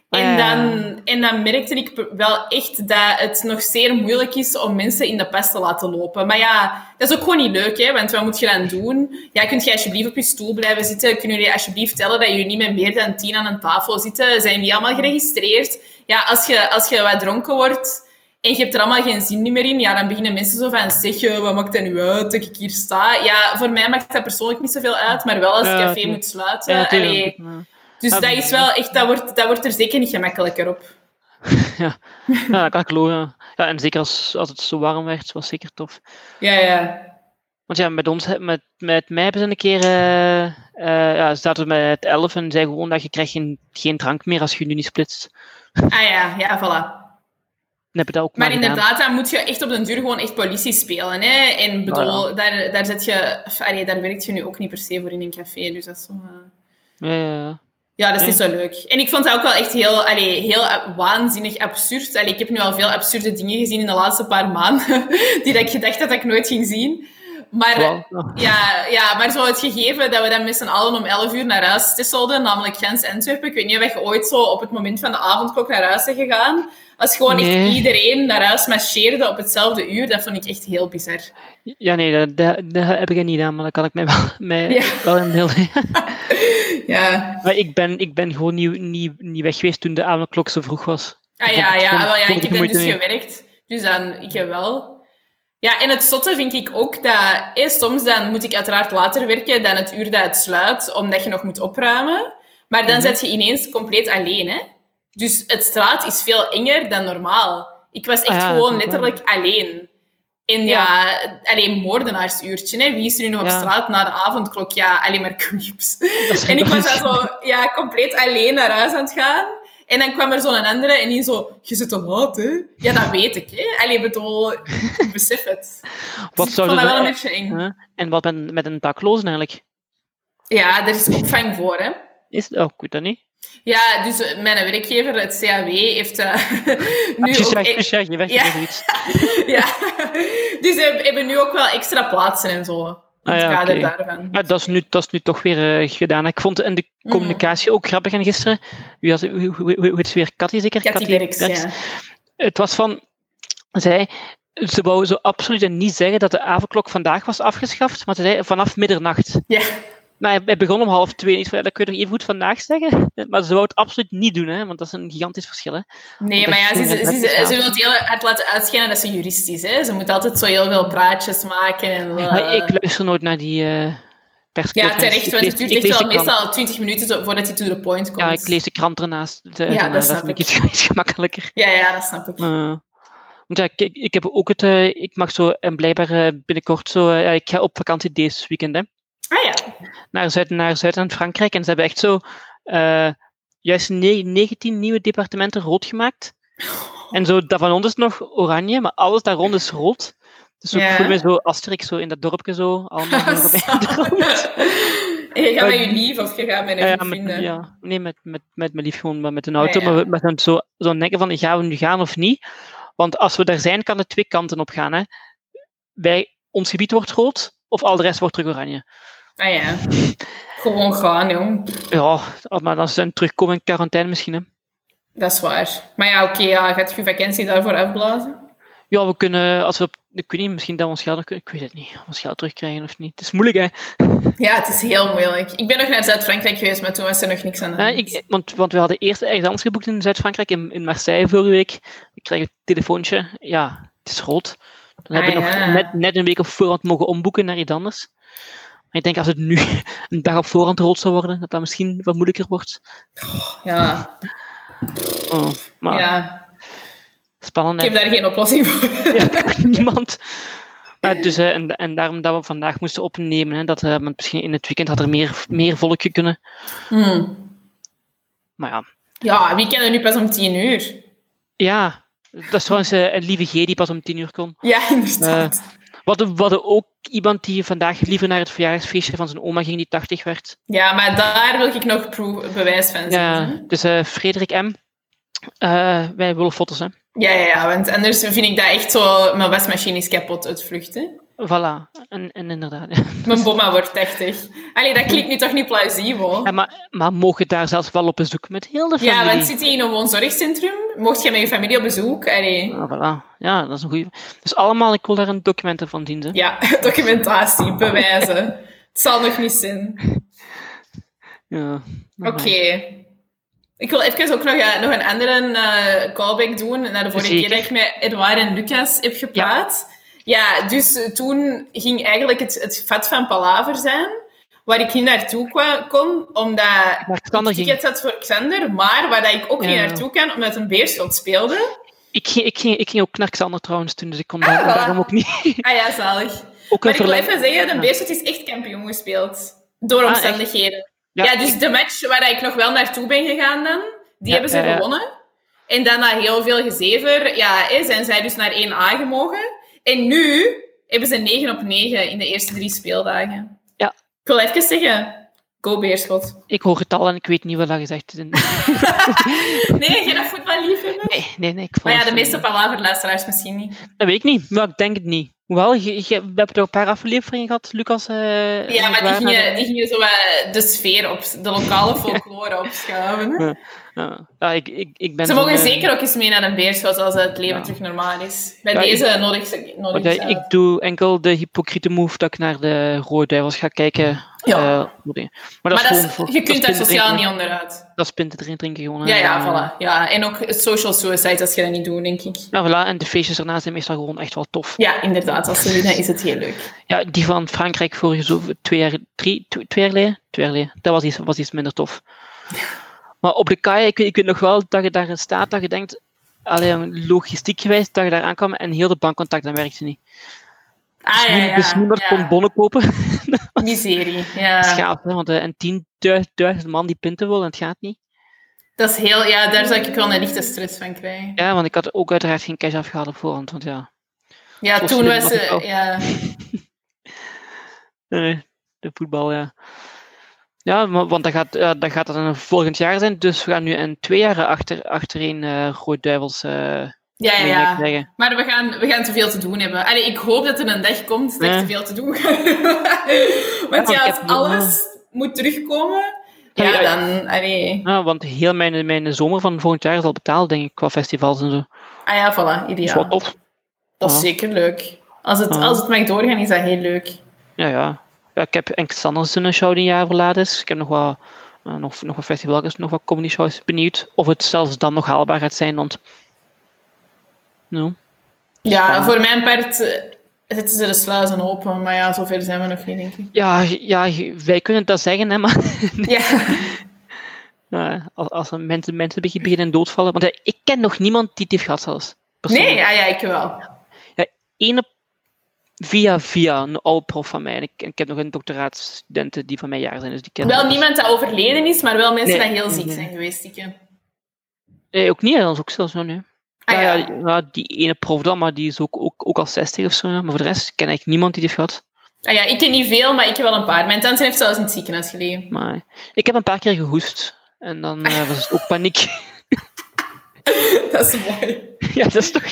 S2: En
S1: Ah, ja.
S2: dan, en dan merkte ik per- wel echt dat het nog zeer moeilijk is om mensen in de pest te laten lopen. Maar ja, dat is ook gewoon niet leuk, hè? want wat moet je dan doen? Ja, kunt je alsjeblieft op je stoel blijven zitten? Kunnen jullie alsjeblieft tellen dat jullie niet met meer dan tien aan een tafel zitten? Zijn die allemaal geregistreerd? Ja, als je, als je wat dronken wordt en je hebt er allemaal geen zin meer in, ja, dan beginnen mensen zo van, zeg, eh, wat maakt dat nu uit dat ik hier sta? Ja, voor mij maakt dat persoonlijk niet zoveel uit, maar wel als het
S1: Ja,
S2: café
S1: tuurlijk.
S2: moet sluiten.
S1: Ja, tuurlijk.
S2: Eh, Allee,
S1: Ja.
S2: dus
S1: Ja,
S2: dat is wel echt, dat wordt, dat wordt er zeker niet gemakkelijker op.
S1: Ja, dat kan ik geloven. Ja, en zeker als, als het zo warm werd, was zeker tof.
S2: Ja, ja.
S1: Want ja, met ons, he- met, met mij hebben ze een keer, eh eh, ja, ze zaten met 11 en zei gewoon dat je krijgt geen, geen drank meer als je nu niet splitst. Dan
S2: Ah ja, ja, voilà.
S1: heb je dat ook
S2: Maar
S1: maar, gedaan.
S2: inderdaad, dan moet je echt op den duur gewoon echt politie spelen. Hè? En bedoel,
S1: Nou
S2: daar, daar zit je... of, allee, daar werkt je nu ook niet per se voor in een café. Dus dat is zo... eh,
S1: Ja, ja, ja.
S2: Ja, dat is
S1: Nee.
S2: niet zo leuk. En ik vond dat ook wel echt heel, allee, heel a- waanzinnig absurd. Allee, ik heb nu al veel absurde dingen gezien in de laatste paar maanden, [LAUGHS] die dat ik gedacht had dat ik nooit ging zien. Maar,
S1: Wel, ja.
S2: ja, ja, maar zo het gegeven dat we dan met z'n allen om 11 uur naar huis tisselden, namelijk Gens Antwerpen. Ik weet niet of je ooit zo op het moment van de avondklok naar huis bent gegaan. Als gewoon
S1: Nee.
S2: echt iedereen naar huis marcheerde op hetzelfde uur, dat vond ik echt heel bizar.
S1: Ja, nee, dat, dat, dat heb ik niet gedaan, maar dat kan ik mij wel, [LAUGHS] mij
S2: Ja.
S1: wel in deel.
S2: Ja,
S1: Maar ik ben, ik ben gewoon niet, niet, niet weg geweest toen de avondklok zo vroeg was.
S2: ah,
S1: Ik vond
S2: ja,
S1: het
S2: ja,
S1: gewoon-
S2: ah, wel, ja
S1: vond
S2: ik
S1: het
S2: heb
S1: de
S2: dan dus
S1: moeite niet.
S2: gewerkt. Dus dan, ik heb wel. Ja, en het zotte vind ik ook dat... eh, soms dan moet ik uiteraard later werken dan het uur dat het sluit, omdat je nog moet opruimen. Maar dan
S1: Mhm.
S2: zet je ineens compleet alleen, hè. Dus het straat is veel enger dan normaal. Ik was echt
S1: Ah ja,
S2: gewoon
S1: dat is waar.
S2: letterlijk alleen. En ja, alleen moordenaarsuurtje, hè. Wie is er nu nog op
S1: Ja.
S2: straat na de avondklok? Ja, alleen maar knips.
S1: Dat [LAUGHS] is-
S2: En ik
S1: dat
S2: was
S1: is-
S2: dan zo ja, compleet alleen naar huis aan het gaan. En dan kwam er zo'n andere en die zo... Je zit te laat, hè? Ja, dat weet ik, hè. Allee, bedoel... ik Besef het.
S1: [LAUGHS] Wat
S2: Dus
S1: zou
S2: ik vond
S1: je
S2: dat wel
S1: zo-
S2: een beetje eng.
S1: Huh? En wat met, met een daklozen eigenlijk?
S2: Ja, er is opvang voor, hè.
S1: Is, oh, goed dan niet.
S2: Ja, dus eh, mijn werkgever, het CAW, heeft eh, [LAUGHS] nu
S1: Nu,
S2: ook...
S1: ja,
S2: e- [LAUGHS]
S1: dus ja, je werkt
S2: Ja.
S1: of zoiets.
S2: ja. Dus ze heb- hebben nu ook wel extra plaatsen en zo.
S1: Ah
S2: In het
S1: ja,
S2: kader
S1: oké.
S2: daarvan.
S1: Maar dat is nu, dat is nu toch weer eh, gedaan. Ik vond en de
S2: Mhm.
S1: communicatie ook grappig en gisteren. Wie was, hoe, hoe, hoe hoe heet ze weer? Katty zeker?
S2: Cathy
S1: Cathy
S2: Berks,
S1: Berks.
S2: ja.
S1: Het was van, zij, ze wou zo absoluut niet zeggen dat de avondklok vandaag was afgeschaft, maar ze zei vanaf middernacht.
S2: Ja.
S1: Maar hij, hij begon om half twee. en ik zei, dat kun je toch even goed vandaag zeggen? Maar ze wou het absoluut niet doen, hè, want dat is een gigantisch verschil. Hè.
S2: Nee,
S1: Want
S2: maar ja,
S1: dat
S2: ze,
S1: is
S2: ze,
S1: gewoon
S2: ze,
S1: een
S2: ze,
S1: wet,
S2: ze
S1: ja.
S2: wil het heel hard laten uitschijnen dat ze jurist is. Hè? Ze moet altijd zo heel veel praatjes maken. En, eh,
S1: Maar ik luister nooit naar die eh persconferenties.
S2: ja, terecht,
S1: Ik
S2: want
S1: lees-
S2: het duurt
S1: ik
S2: echt
S1: lees
S2: wel
S1: de krant.
S2: meestal 20 minuten zo- voordat hij to the point komt.
S1: Ja, ik lees de krant ernaast. eh,
S2: dat
S1: daarna,
S2: snap
S1: vind
S2: ik.
S1: iets, [LAUGHS] iets gemakkelijker.
S2: ja, ja, dat snap ik.
S1: Eh, want ja, ik, ik, ik heb ook het, eh, ik mag zo, en blijkbaar eh, binnenkort zo, eh, ja, ik ga op vakantie deze weekend, hè,
S2: Ah ja,
S1: naar Zuid- naar Zuid-Frankrijk. en ze hebben echt zo, eh, juist ne- 19 nieuwe departementen rood gemaakt.
S2: Oh.
S1: En zo, dat van ons is nog oranje, maar alles daar rond is rood. Dus zo,
S2: Ja.
S1: ik voel me zo Asterix, zo in dat dorpje zo,
S2: [LAUGHS]
S1: allemaal zo erbij.
S2: En [LAUGHS] je gaat
S1: Maar-
S2: met je lief of je gaat
S1: [LAUGHS]
S2: met
S1: Ja,
S2: een
S1: ja, met,
S2: vrienden.
S1: ja, nee, met, met, met mijn lief gewoon, maar met een auto.
S2: Ja, ja.
S1: Maar we- maar dan zo, zo'n denken van, gaan we nu gaan of niet? Want als we daar zijn, kan het twee kanten op gaan. Hè. Wij, ons gebied wordt rood, of al de rest wordt terug oranje.
S2: Ah ja. Gewoon gaan, jong.
S1: Ja, maar dan zijn terugkomen in quarantaine misschien. Hè.
S2: Dat is waar. Maar ja, oké, ja, gaat je vakantie daarvoor afblazen?
S1: Ja, we kunnen, als we op, ik weet niet, misschien dat we ons geld, ik weet het niet, of we ons geld terugkrijgen of niet. Het is moeilijk, hè?
S2: Ja, het is heel moeilijk. Ik ben nog naar Zuid-Frankrijk geweest, maar toen was er nog niks aan de
S1: Ja,
S2: hand.
S1: Eh, ik, want, want we hadden eerst ergens anders geboekt in Zuid-Frankrijk, in, in Marseille vorige week. Ik kreeg een telefoontje, ja, het is rood. Dan heb
S2: Ah,
S1: je nog
S2: ja.
S1: net, net een week op voorhand mogen omboeken naar iets anders. Maar ik denk als het nu [LAUGHS] een dag op voorhand rood zou worden, dat dat misschien wat moeilijker wordt.
S2: Ja,
S1: Oh, maar
S2: ja.
S1: spannend.
S2: Ik
S1: hè.
S2: heb daar geen oplossing voor.
S1: [LAUGHS] Ja, niemand. Maar dus, eh, en, en daarom dat we vandaag moesten opnemen. Hè, dat, eh, want misschien in het weekend had er meer, meer volkje kunnen.
S2: Hmm.
S1: Maar ja.
S2: Ja, wie kennen nu pas om tien uur?
S1: Ja, dat is trouwens eh, een lieve G die pas om tien uur kon.
S2: Ja, [LAUGHS] inderdaad.
S1: We hadden, we hadden ook iemand die vandaag liever naar het verjaardagsfeestje van zijn oma ging, die 80 werd.
S2: Ja, maar daar wil ik nog proef, bewijs van zien. hè.
S1: Ja, dus eh, Frederik M. Eh, wij willen foto's, hè.
S2: Ja, ja, ja, want anders vind ik dat echt zo... Mijn wasmachine is kapot, het vluchten.
S1: Voilà. En, en inderdaad. ja.
S2: Mijn bomma wordt 80. Allee, dat klinkt nu toch niet plausibel?
S1: Ja, maar, maar mogen daar zelfs wel op bezoek met heel de familie?
S2: Ja, want zit je in een woonzorgcentrum? Mocht je met je familie op bezoek? Allee.
S1: Ah, voilà. Ja, dat is een goede. Dus allemaal, ik wil daar een documenten van dienen. hè.
S2: Ja, [LAUGHS] documentatie, bewijzen. Het zal nog niet zijn.
S1: Ja.
S2: Oké. Ik wil even ook nog, eh, nog een andere eh, callback doen naar de vorige
S1: Zeker.
S2: keer dat ik met Edouard en Lucas heb gepraat. Ja, dus eh, toen ging eigenlijk het, het vat van Palaver zijn, waar ik niet naartoe kwa- kon, omdat
S1: Maar Xander
S2: ik
S1: ging.
S2: tickets had voor Xander, maar waar dat ik ook
S1: Ja.
S2: niet naartoe kan, omdat een beerschot speelde.
S1: Ik ging, ik, ging, ik ging ook naar Xander trouwens toen, dus ik kon daar,
S2: Ah, voilà.
S1: daarom ook niet. [LAUGHS]
S2: Ah ja, zalig.
S1: ook
S2: Maar
S1: een
S2: ik wil
S1: verlenging.
S2: even zeggen, de
S1: Ja. Ah,
S2: Beerschot is echt kampioen gespeeld. Door
S1: echt?
S2: omstandigheden. ja,
S1: Ja,
S2: dus de match waar ik nog wel naartoe ben gegaan dan, die
S1: Ja,
S2: hebben ze
S1: ja, ja.
S2: gewonnen. En dan na heel veel gezever, ja, hè, zijn zij dus naar 1A gemogen. En nu hebben ze 9 op 9 in de eerste drie speeldagen.
S1: Ja.
S2: Ik wil even zeggen,
S1: [LAUGHS]
S2: go Beerschot.
S1: Ik hoor het al en ik weet niet wat dat gezegd
S2: [LAUGHS]
S1: is. Nee,
S2: Nee, geen voetballiefhebber.
S1: nee, nee. Ik val
S2: Maar ja, de
S1: het
S2: meeste
S1: niet.
S2: palaverluisteraars misschien niet.
S1: Dat weet ik niet, maar ik denk het niet. Hoewel, je, je- we hebben er een paar afleveringen gehad, Lucas. eh, en
S2: Ja, maar die
S1: Edouard
S2: gingen,
S1: hadden-
S2: die gingen zo eh, de sfeer op, de lokale
S1: [LAUGHS]
S2: folklore opschuiven. hè.
S1: Ja, ja, ik, ik, ik ben
S2: Ze
S1: zo'n,
S2: mogen
S1: eh,
S2: zeker ook eens mee naar een beerschot als het leven
S1: Ja.
S2: terug normaal is. Bij
S1: Ja, ik-
S2: deze nodig ze. Nodig
S1: want, eh,
S2: ze uit.
S1: ik doe enkel de hypocriete move dat ik naar de Rode Duivels ga kijken.
S2: Ja.
S1: eh, wat dingen. maar dat is
S2: maar dat
S1: gewoon
S2: is-
S1: voor-
S2: je
S1: dat
S2: kunt
S1: is
S2: daar
S1: pinten
S2: sociaal
S1: drinken,
S2: niet onderuit.
S1: hè. Dat is pinten erin drinken gewoon. hè.
S2: Ja, ja,
S1: Eh,
S2: voilà. Ja, en ook social suicide, dat je dat niet doet, denk ik.
S1: Ja, voilà. En de feestjes daarna zijn meestal gewoon echt wel tof.
S2: Ja, inderdaad. Als ze doen, dan is het heel leuk.
S1: Ja, die van Frankrijk vorige zo twee jaar, drie, tw- twee jaar geleden? Twee jaar geleden. Dat was iets, was iets minder
S2: [LAUGHS]
S1: tof. Maar op de kaai, ik, weet- ik weet nog wel dat je daarin staat, dat je denkt, allee, jongen, logistiek gewijs, dat je daar aankwam en heel de bankcontact, dat werkte niet.
S2: Ah, ja, ja.
S1: Dus niemand
S2: ja.
S1: kon bonnen kopen.
S2: Miserie, ja.
S1: Schaap, hè, want eh, een 10.000 man die pinten wil en het gaat niet.
S2: Dat is heel... Ja, daar zou ik wel een lichte stress van krijgen.
S1: Ja, want ik had ook uiteraard geen cash afgehaald op voorhand, want ja.
S2: Ja,
S1: Zo
S2: toen
S1: slim
S2: was...
S1: was ik
S2: eh,
S1: ook.
S2: ja.
S1: Nee, eh, de voetbal, ja. Ja, maar, want dat gaat, ja, dat gaat dan volgend jaar zijn. Dus we gaan nu een twee jaar achter, achtereen eh Rood Duivels eh
S2: Ja, ja,
S1: meegaan
S2: ja.
S1: krijgen.
S2: Maar we gaan, we gaan te veel te doen hebben. Allee, ik hoop dat er een dag komt dat ik
S1: Ja.
S2: te veel te
S1: [LAUGHS]
S2: doen ga hebben. Want
S1: want
S2: ja,
S1: ik
S2: als
S1: heb-
S2: alles moet terugkomen,
S1: Ja,
S2: ja,
S1: ja.
S2: dan... Allee.
S1: Ja, want heel mijn, mijn zomer van volgend jaar is al betaald, denk ik, qua festivals en zo.
S2: Ah ja, voilà,
S1: Dus
S2: ideaal.
S1: wat tof.
S2: Dat is
S1: Ja.
S2: zeker leuk. Als het,
S1: Ja.
S2: als het mag doorgaan, is dat heel leuk.
S1: Ja, ja. ja ik heb Enk Sanders een show die een jaar verlaat is. Ik heb nog wat, eh, nog, nog wat festivals, nog wat comedy shows. Benieuwd of het zelfs dan nog haalbaar gaat zijn, want... Nou,
S2: Ja,
S1: Spannend.
S2: voor mijn part eh, zitten ze de sluizen open, maar ja, zover zijn we nog niet, denk ik.
S1: Ja, ja, wij kunnen dat zeggen, hè, maar...
S2: Ja,
S1: Nou, als, als er mensen, mensen beg- beginnen doodvallen. Want eh, ik ken nog niemand die het heeft gehad zelfs.
S2: nee, ah,
S1: Persoonlijk.
S2: [LAUGHS] ja, ja, ik wel.
S1: Eén op- via via een oude prof van mij. En ik, ik heb nog een doctoraatstudenten die van mijn jaar zijn. Dus die kennen
S2: Wel
S1: dat.
S2: niemand dat overleden is, maar wel mensen
S1: Nee,
S2: die heel
S1: nee,
S2: ziek
S1: nee.
S2: zijn geweest, eh. Ah, dikke.
S1: Nee, ook niet, hè, dat is ook zelfs zo nu.
S2: Ah,
S1: ja,
S2: ja.
S1: ja, ja, die ene prof dan, maar die is ook, ook, ook al 60 of zo. ja. Maar voor de rest ken ik niemand die het heeft gehad.
S2: Ah ja, ik ken niet veel, maar ik heb wel een paar. Mijn tante heeft zelfs in het
S1: [LAUGHS]
S2: ziekenhuis gelegen.
S1: Maar ik heb een paar keer gehoest. En dan eh, was het ook paniek. [LAUGHS]
S2: Dat is mooi.
S1: ja, dat is toch...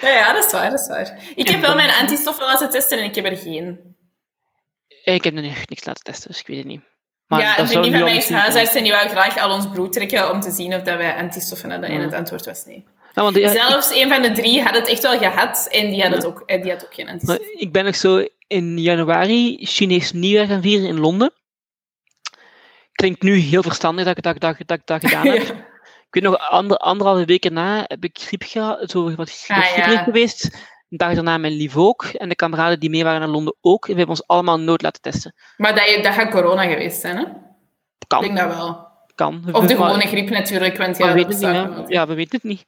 S2: Ja, ja, dat is waar, dat is waar. Ik heb wel
S1: dan-
S2: mijn antistoffen laten testen en ik heb er geen.
S1: Eh, Ik heb nog niks laten testen, dus ik weet het niet. Maar
S2: ja,
S1: dat
S2: de
S1: zou
S2: vriendin
S1: nu
S2: van
S1: al
S2: mij is
S1: misschien zijn.
S2: huisarts en die wou graag al ons bloed trekken om te zien of dat wij antistoffen hadden. En
S1: Ja.
S2: het antwoord was nee.
S1: Ja, want, eh, ja, ik-
S2: Zelfs een van de drie had het echt wel gehad en die had, het
S1: Ja.
S2: ook, en die had ook geen antistoffen.
S1: Maar ik ben nog zo in januari Chinees nieuwjaar gaan vieren in Londen. Klinkt nu heel verstandig dat ik dat, dat, dat, dat gedaan heb.
S2: Ja.
S1: Ik weet nog, ander, anderhalve weken na heb ik griep gehad, zo wat
S2: Ah,
S1: griep
S2: ja.
S1: geweest. Een dag daarna mijn lief ook. En de kameraden die mee waren naar Londen ook. En we hebben ons allemaal nood laten testen.
S2: Maar dat, je- dat gaat corona geweest zijn, hè? Ik
S1: Kan,
S2: denk dat wel.
S1: kan.
S2: Of de
S1: Maar-
S2: gewone griep natuurlijk, want
S1: maar
S2: ja,
S1: we
S2: dat
S1: weten het
S2: bestaat
S1: niet, hè.
S2: wel.
S1: Ja, we weten het niet.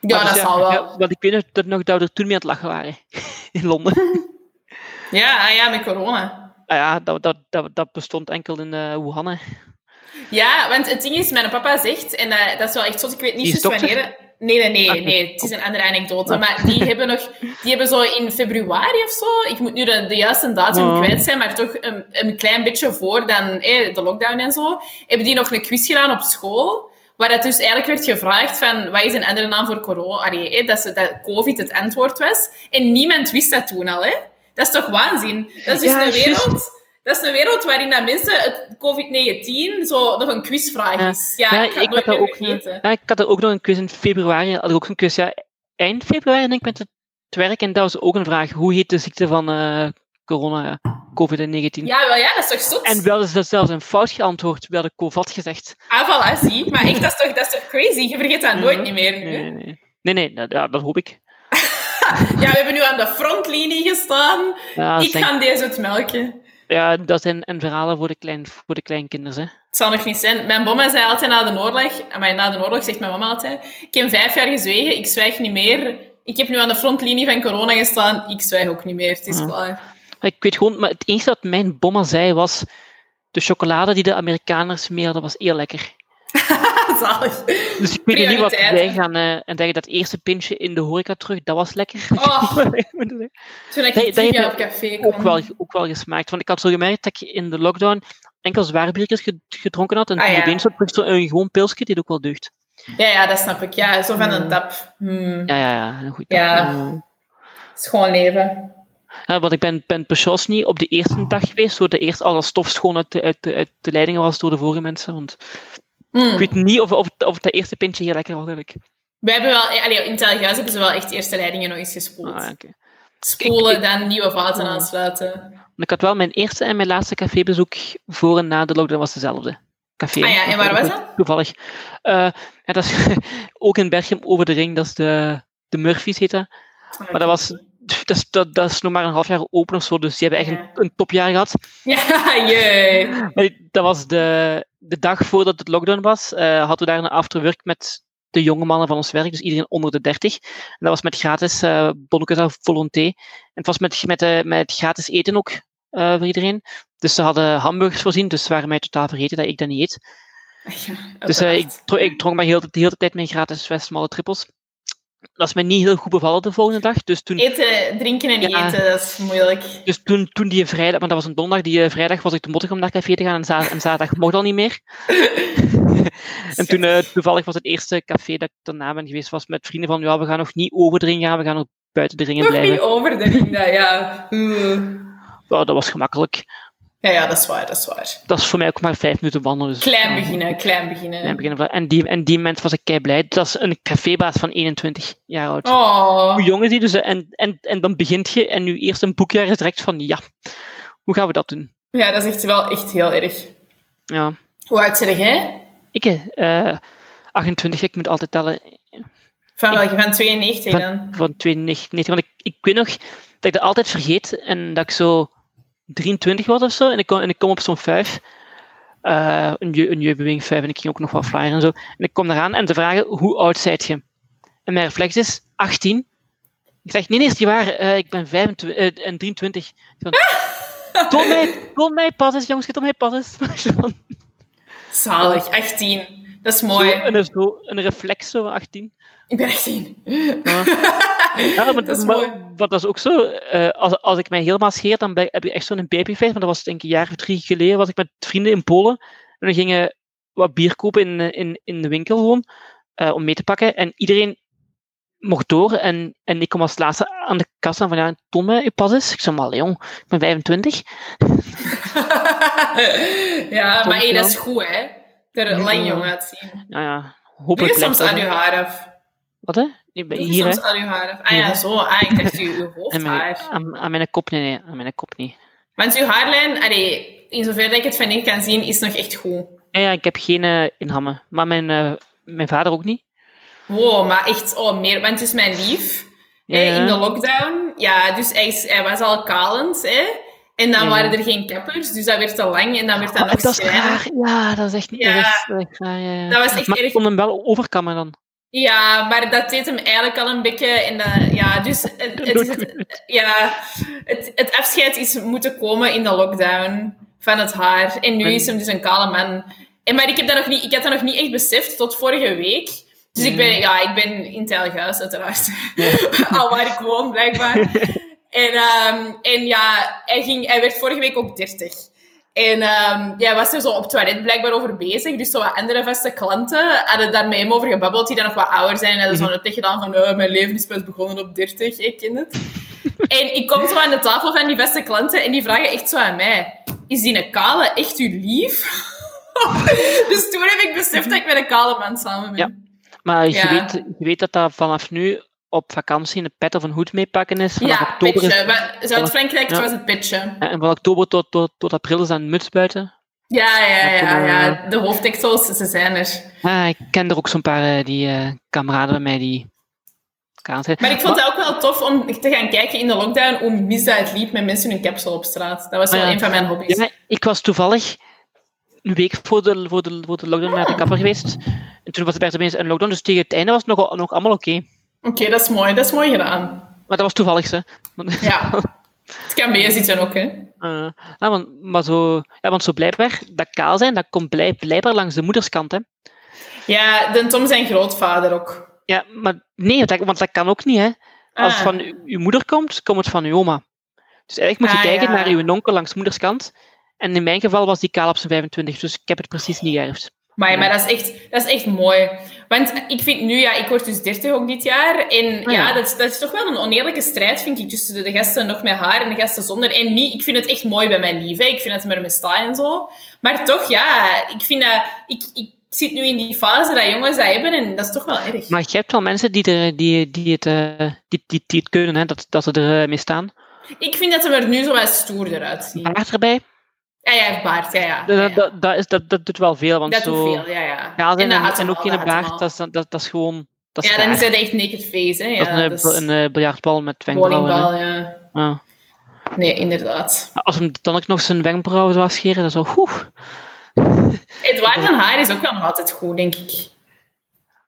S2: Ja,
S1: Maar
S2: dat
S1: dus
S2: zal wel.
S1: ja, want ik weet nog dat, nog dat we er toen mee aan het lachen waren. [LAUGHS] In
S2: [LAUGHS]
S1: Londen.
S2: Ja, ah ja, met corona.
S1: Ah ja, dat, dat, dat, dat bestond enkel in eh Wuhan. hè.
S2: Ja, want het ding is, mijn papa zegt, en eh, dat is wel echt zot, ik weet niet
S1: Die is
S2: precies wanneer... Nee, nee, nee,
S1: Ah, nee. Ah.
S2: nee, het is een andere anekdote. Maar die hebben nog, die hebben zo in februari of zo, ik moet nu de, de juiste datum
S1: Oh.
S2: kwijt zijn, maar toch een, een klein beetje voor dan eh, de lockdown en zo, hebben die nog een quiz gedaan op school, waar het dus eigenlijk werd gevraagd van, wat is een andere naam voor corona? Allee, eh, dat, ze, dat covid het antwoord was. En niemand wist dat toen al, hè? Dat is toch waanzin? Dat is dus
S1: Ja,
S2: een wereld...
S1: juist.
S2: Dat is een wereld waarin dat mensen het COVID-19 zo nog een quizvraag
S1: Ja.
S2: is. Ja,
S1: Ja,
S2: ik ga het
S1: ik had
S2: nooit
S1: dat
S2: meer
S1: ook,
S2: vergeten.
S1: Ja, ik had er ook nog een quiz in februari. Had ik ook een quiz, ja, eind februari denk ik met het werk. En dat was ook een vraag. Hoe heet de ziekte van eh, corona, ja, COVID-19?
S2: Ja, wel, ja, dat is toch zot?
S1: En wel is dat zelfs een fout geantwoord. Wel de COVID gezegd.
S2: Ah, voilà, zie. Maar echt, dat is toch, dat is toch crazy? Je vergeet dat nooit
S1: Mhm.
S2: niet meer nu.
S1: Nee, nee, nee. Nee, nee, dat, ja, dat hoop ik.
S2: Ja, we hebben nu aan de frontlinie gestaan.
S1: Ja, dat
S2: ik
S1: zijn,
S2: ga deze het melken.
S1: ja, dat zijn en verhalen voor de, klein, voor de kleinkinders. Hè.
S2: Het zal nog niet zijn. Mijn mama zei altijd na de oorlog, maar na de oorlog zegt mijn mama altijd, ik heb vijf jaar gezwegen, ik zwijg niet meer. Ik heb nu aan de frontlinie van corona gestaan, ik zwijg ook niet meer, het is
S1: Ja.
S2: klaar. [LAUGHS]
S1: Maar Ik weet gewoon, maar het enige dat mijn bomma zei was. De chocolade die de Amerikaners meer hadden, was heel lekker.
S2: Zalig.
S1: Dus ik weet niet wat wij
S2: Prioriteiten.
S1: gaan eh, en zeggen dat eerste pintje in de horeca terug, dat was lekker. [LAUGHS]
S2: Oh, toen
S1: Dat- dat
S2: ik tien
S1: heeft
S2: jaar
S1: me
S2: op café kwam.
S1: ook, wel, ook wel gesmaakt. Want ik had zo gemerkt dat ik in de lockdown enkel zware biertjes ge- gedronken had. En
S2: Ah,
S1: toen
S2: ja.
S1: opeens had ik zo een gewoon pilsje, die ook wel deugt.
S2: Ja, ja, dat snap ik. Ja, zo van een
S1: Mm.
S2: tap. Hmm.
S1: Ja, ja, ja. Een goed
S2: Ja.
S1: eh.
S2: Schoon leven.
S1: Ja, want ik ben, ben per chance niet op de eerste dag geweest, zodat eerst al dat stof schoon uit de, uit, de, uit de leidingen was door de vorige mensen. Want ik
S2: Hmm.
S1: weet niet of, of, of dat eerste pintje heel lekker was, eigenlijk.
S2: We hebben wel, eh, allee, in het Telgehuis hebben ze wel echt eerste leidingen nog eens gespoeld.
S1: Ah, oké.
S2: Spoelen,
S1: Ik-
S2: dan nieuwe vaten
S1: Hmm.
S2: aansluiten.
S1: Maar Ik had wel mijn eerste en mijn laatste cafébezoek voor en na de lockdown was dezelfde. Café.
S2: Ah ja, en waar was dat?
S1: Toevallig. Eh, ja, dat is [LAUGHS] ook in Berchem over de ring, dat is de, de Murphy's heet dat. Maar dat was, dat is, dat, dat is nog maar een half jaar open of zo, dus die hebben echt een, een topjaar gehad.
S2: Ja, [LAUGHS] jee.
S1: Maar die- dat was de, de dag voordat het lockdown was, eh, hadden we daar een afterwork met de jonge mannen van ons werk, dus iedereen onder de 30. En dat was met gratis eh bonnetjes aan volonté. En het was met, met, eh, met gratis eten ook eh, voor iedereen. Dus ze hadden hamburgers voorzien, dus ze waren mij totaal vergeten dat ik dat niet eet.
S2: Ah
S1: Dus eh, ik, dro- ik dronk maar heel, de hele tijd mijn gratis Westmalle trippels. Dat is mij niet heel goed bevallen de volgende dag. Dus toen,
S2: Eten, drinken en niet
S1: Ja.
S2: eten, dat is moeilijk.
S1: dus toen, toen die vrijdag, maar dat was een donderdag, die eh, vrijdag was ik te mottig om naar café te gaan en, za- en zaterdag mocht al niet meer. En toen eh, toevallig was het eerste café dat ik daarna ben geweest, was met vrienden van, ja, we gaan nog niet over de ring gaan, we gaan nog buiten de ringen
S2: [LAUGHS] Nog niet
S1: blijven.
S2: over de ring, dat, ja. Oeh.
S1: Ja, dat was gemakkelijk.
S2: Ja, ja, dat is waar, dat is waar.
S1: Dat is voor mij ook maar vijf minuten wandelen. Dus, ja,
S2: Klein beginnen, klein beginnen.
S1: klein beginnen van- En die, en die mens was ik kei blij. Dat is een cafébaas van 21 jaar oud.
S2: Oh.
S1: hoe jong is die? Dus, eh, en, en, en dan begint je en nu eerst een boekjaar is direct van ja, hoe gaan we dat doen?
S2: Ja, dat is echt wel echt heel erg.
S1: Ja,
S2: Hoe oud zeg jij?
S1: ik, eh 28, ik moet altijd tellen
S2: Van welke? Van 92
S1: Van-
S2: dan?
S1: van 92. Want ik, ik weet nog dat ik dat altijd vergeet en dat ik zo 23 was of zo en ik kom, en ik kom op zo'n 5. eh een, je, een jeugdbeweging 5 en ik ging ook nog wat flyer en zo. En ik kom eraan en ze vragen: hoe oud zijt je? En mijn reflex is 18. Ik zeg: nee, nee, is niet waar, eh, ik ben 25 eh, en 23. Ik Van, toon, mij, toon mij pas eens, jongens, toon mij pas eens. [LAUGHS] Zo van,
S2: Zalig, 18. Dat is mooi.
S1: zo, een, zo, een reflex zo van 18.
S2: Ik ben 18.
S1: Ja. Ja, maar,
S2: [LAUGHS] Dat is
S1: maar-
S2: mooi.
S1: want dat is ook zo. eh, als, als ik mij helemaal scheer, dan ben, heb ik echt zo'n babyface. Maar dat was denk ik een jaar of drie geleden. Was ik met vrienden in Polen. En we gingen wat bier kopen in, eh, in, in de winkel gewoon. eh, om mee te pakken. En iedereen mocht door. En, en ik kom als laatste aan de eh, kassa. Van ja, Tom, je pas is. Ik zei maar, allee, jong, ik ben 25.
S2: [LAUGHS] ja, maar hey, dat is goed, hè? Er lang jong uitzien.
S1: Nou ja,
S2: Doe
S1: hopelijk
S2: je
S1: blijft
S2: soms
S1: dat,
S2: aan
S1: hè.
S2: je haar af?
S1: Wat hè? Ik ben
S2: Doe je
S1: Hier, hè?
S2: soms aan je haar af? Ah
S1: Hier,
S2: ja,
S1: hè?
S2: zo. Ah, ik dacht
S1: [LAUGHS]
S2: je, je
S1: Aan mijn,
S2: hoofdhaar.
S1: aan, aan mijn kop, nee, nee, aan mijn kop niet.
S2: Want je haarlijn, allee, in zover dat ik het van hier kan zien, is nog echt goed.
S1: Ja, ja, ik heb geen eh, inhammen. Maar mijn, eh, mijn vader ook niet.
S2: Wow, maar echt, oh, meer. Want dus mijn lief,
S1: Ja,
S2: hè, in de
S1: ja.
S2: lockdown, ja, dus hij, is- hij was al kalend, hè. En dan
S1: Ja.
S2: waren er geen kappers, dus dat werd te lang en dan werd dat
S1: Oh,
S2: nog
S1: dat is
S2: schrijner.
S1: raar. Ja, dat is echt niet.
S2: Ja.
S1: Dat is, dat is echt raar, ja, ja.
S2: Dat was echt
S1: maar
S2: erg.
S1: ik kon hem wel overkammen dan.
S2: Ja, maar dat deed hem eigenlijk al een beetje. En dat, ja, dus het, [LAUGHS] het, is het- ja, het, het afscheid is moeten komen in de lockdown van het haar. En nu
S1: En-
S2: is hem dus een kale man. En, maar ik, heb dat nog niet, ik had dat nog niet echt beseft tot vorige week. Dus ik ben, ja, ik ben in Telghuis, uiteraard. [LAUGHS] al waar ik woon, blijkbaar. en, ehm, en ja, hij, ging, hij werd vorige week ook 30. En ehm ja, hij was er zo op toilet blijkbaar over bezig. Dus zo wat andere vaste klanten hadden daar met hem over gebabbeld, die dan nog wat ouder zijn. En hadden zo'n tech gedaan van, "Eh, mijn leven is pas begonnen op 30, ik ken het. en ik kom zo aan de tafel van die vaste klanten en die vragen echt zo aan mij. Is die een kale echt uw lief? [LAUGHS] dus toen heb ik beseft dat ik met een kale man samen ben.
S1: Ja. Maar
S2: Ja.
S1: je, weet, je weet dat dat vanaf nu op vakantie een pet of een hoed meepakken is. Vanaf
S2: Ja,
S1: oktober is-
S2: pitje. Maar Zuid-Frankrijk
S1: Ja.
S2: was het pitje.
S1: en van oktober tot, tot, tot april is dat een muts buiten.
S2: Ja, ja,
S1: Dat
S2: ja,
S1: kunnen we-
S2: ja. De hoofddeksels, ze zijn er.
S1: Ah, ik ken er ook zo'n paar eh, die eh, kameraden bij mij die kaas zijn.
S2: Maar ik vond het ook wel tof om te gaan kijken in de lockdown hoe mis dat het liep met mensen hun capsule op straat. Dat was wel
S1: Ah, Ja.
S2: een van mijn hobby's.
S1: Ja, ik was toevallig een week voor de, voor de, voor de lockdown naar de
S2: Ah.
S1: kapper geweest. En toen was het opeens een lockdown, dus tegen het einde was het nog, nog allemaal oké.
S2: Oké, dat is mooi. Dat is mooi gedaan.
S1: Maar dat was toevallig, hè. Want- [LAUGHS]
S2: Ja. Het kan bij je zitten ook, hè.
S1: Eh, ah, want, maar zo, ja, want zo blijkbaar, dat kaal zijn, dat komt blij- blijkbaar langs de moederskant. Hè.
S2: Ja, de Tom zijn grootvader ook.
S1: Ja, maar nee, dat, want dat kan ook niet. Hè. Als
S2: Ah.
S1: het van u- uw moeder komt, komt het van uw oma. Dus eigenlijk moet je
S2: Ah,
S1: kijken
S2: ja.
S1: naar uw onkel langs moederskant. En in mijn geval was die kaal op zijn 25, dus ik heb het precies niet geërfd.
S2: Maar, ja, maar dat, is echt, dat is echt mooi. Want ik vind nu, ja, ik word dus 30 ook dit jaar. En ja,
S1: Ah, ja.
S2: dat, is- dat is toch wel een oneerlijke strijd, vind ik, tussen de, de gasten nog met haar en de gasten zonder. En niet, ik vind het echt mooi bij mijn lief. hè. Ik vind dat ze met me staan en zo. Maar toch, ja, ik vind dat... Ik, ik zit nu in die fase dat jongens dat hebben en dat is toch wel erg.
S1: Maar je hebt wel mensen die, er, die, die, het, eh, die, die, die het kunnen, hè, dat, dat ze er eh, mee staan.
S2: Ik vind dat ze er nu zo wat stoerder uitzien.
S1: Baard erbij,
S2: Ja, ja, baard, ja, Ah, ja.
S1: dat,
S2: ja, ja.
S1: dat, dat, is, dat, dat doet wel veel. Want
S2: Dat
S1: zo
S2: doet veel, ja, ja.
S1: kaal zijn en,
S2: had
S1: en,
S2: hem
S1: ook
S2: al,
S1: geen
S2: had hem
S1: baard,
S2: al.
S1: dat, is- dat, dat is gewoon... Dat is
S2: Ja, dan
S1: raar.
S2: is dat echt naked face, hè.
S1: Dat is
S2: Ja,
S1: een,
S2: dat
S1: bal-
S2: is
S1: een eh, biljartbal met wenkbrauwen. hè.
S2: bowlingbal, ja.
S1: Ja.
S2: Nee, inderdaad.
S1: Als hem dan ook nog zijn wenkbrauwen zou scheren, dan zo... Oeh.
S2: Edouard van Haar is ook wel nog altijd goed, denk ik.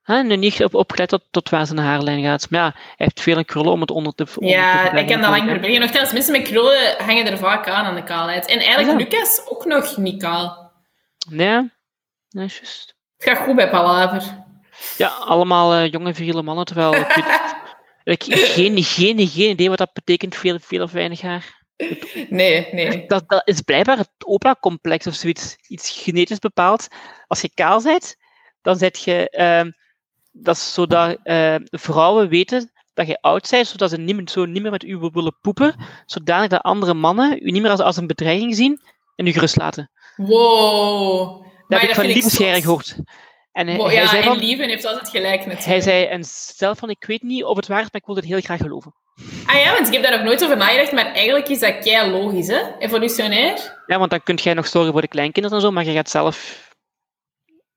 S1: Hè, nu niet op, opgelet tot, tot waar zijn haarlijn gaat. Maar ja, hij heeft veel krullen om het onder te onder te
S2: Ja,
S1: verbergen
S2: ik kan dat lang
S1: natuurlijk, hè.
S2: verbergen. Nogthans, mensen met krullen hangen er vaak aan aan de kaalheid. En eigenlijk
S1: Ja.
S2: Lucas ook nog niet kaal.
S1: Nee, nee, juist.
S2: Het gaat goed bij Palaver.
S1: Ja, allemaal eh, jonge virile mannen, terwijl ik, weet- [LAUGHS] ik heb geen, geen, geen idee wat dat betekent, veel, veel of weinig haar.
S2: Nee, nee.
S1: Dat, dat is blijkbaar het opa-complex of zoiets, iets genetisch bepaald. Als je kaal bent, dan zet je... ehm, dat is zodat eh, vrouwen weten dat je oud bent, zodat ze niet, meer- zo niet meer met u willen poepen, zodanig dat andere mannen u niet meer als, als een bedreiging zien en u gerust laten.
S2: Wow.
S1: Dat heb ik van
S2: vind zot.
S1: Liebescherre gehoord. En eh, hij,
S2: Wow,
S1: hij
S2: ja,
S1: zei
S2: en
S1: van,
S2: Lieven heeft altijd gelijk natuurlijk.
S1: Hij zei en zelf van, ik weet niet of het waar is, maar ik wil het heel graag geloven.
S2: Ah ja, want ik heb daar nog nooit over nagedacht, maar eigenlijk is dat kei logisch, hè? Evolutionair.
S1: Ja, want dan kun jij nog zorgen voor de kleinkinderen en zo, maar je gaat zelf...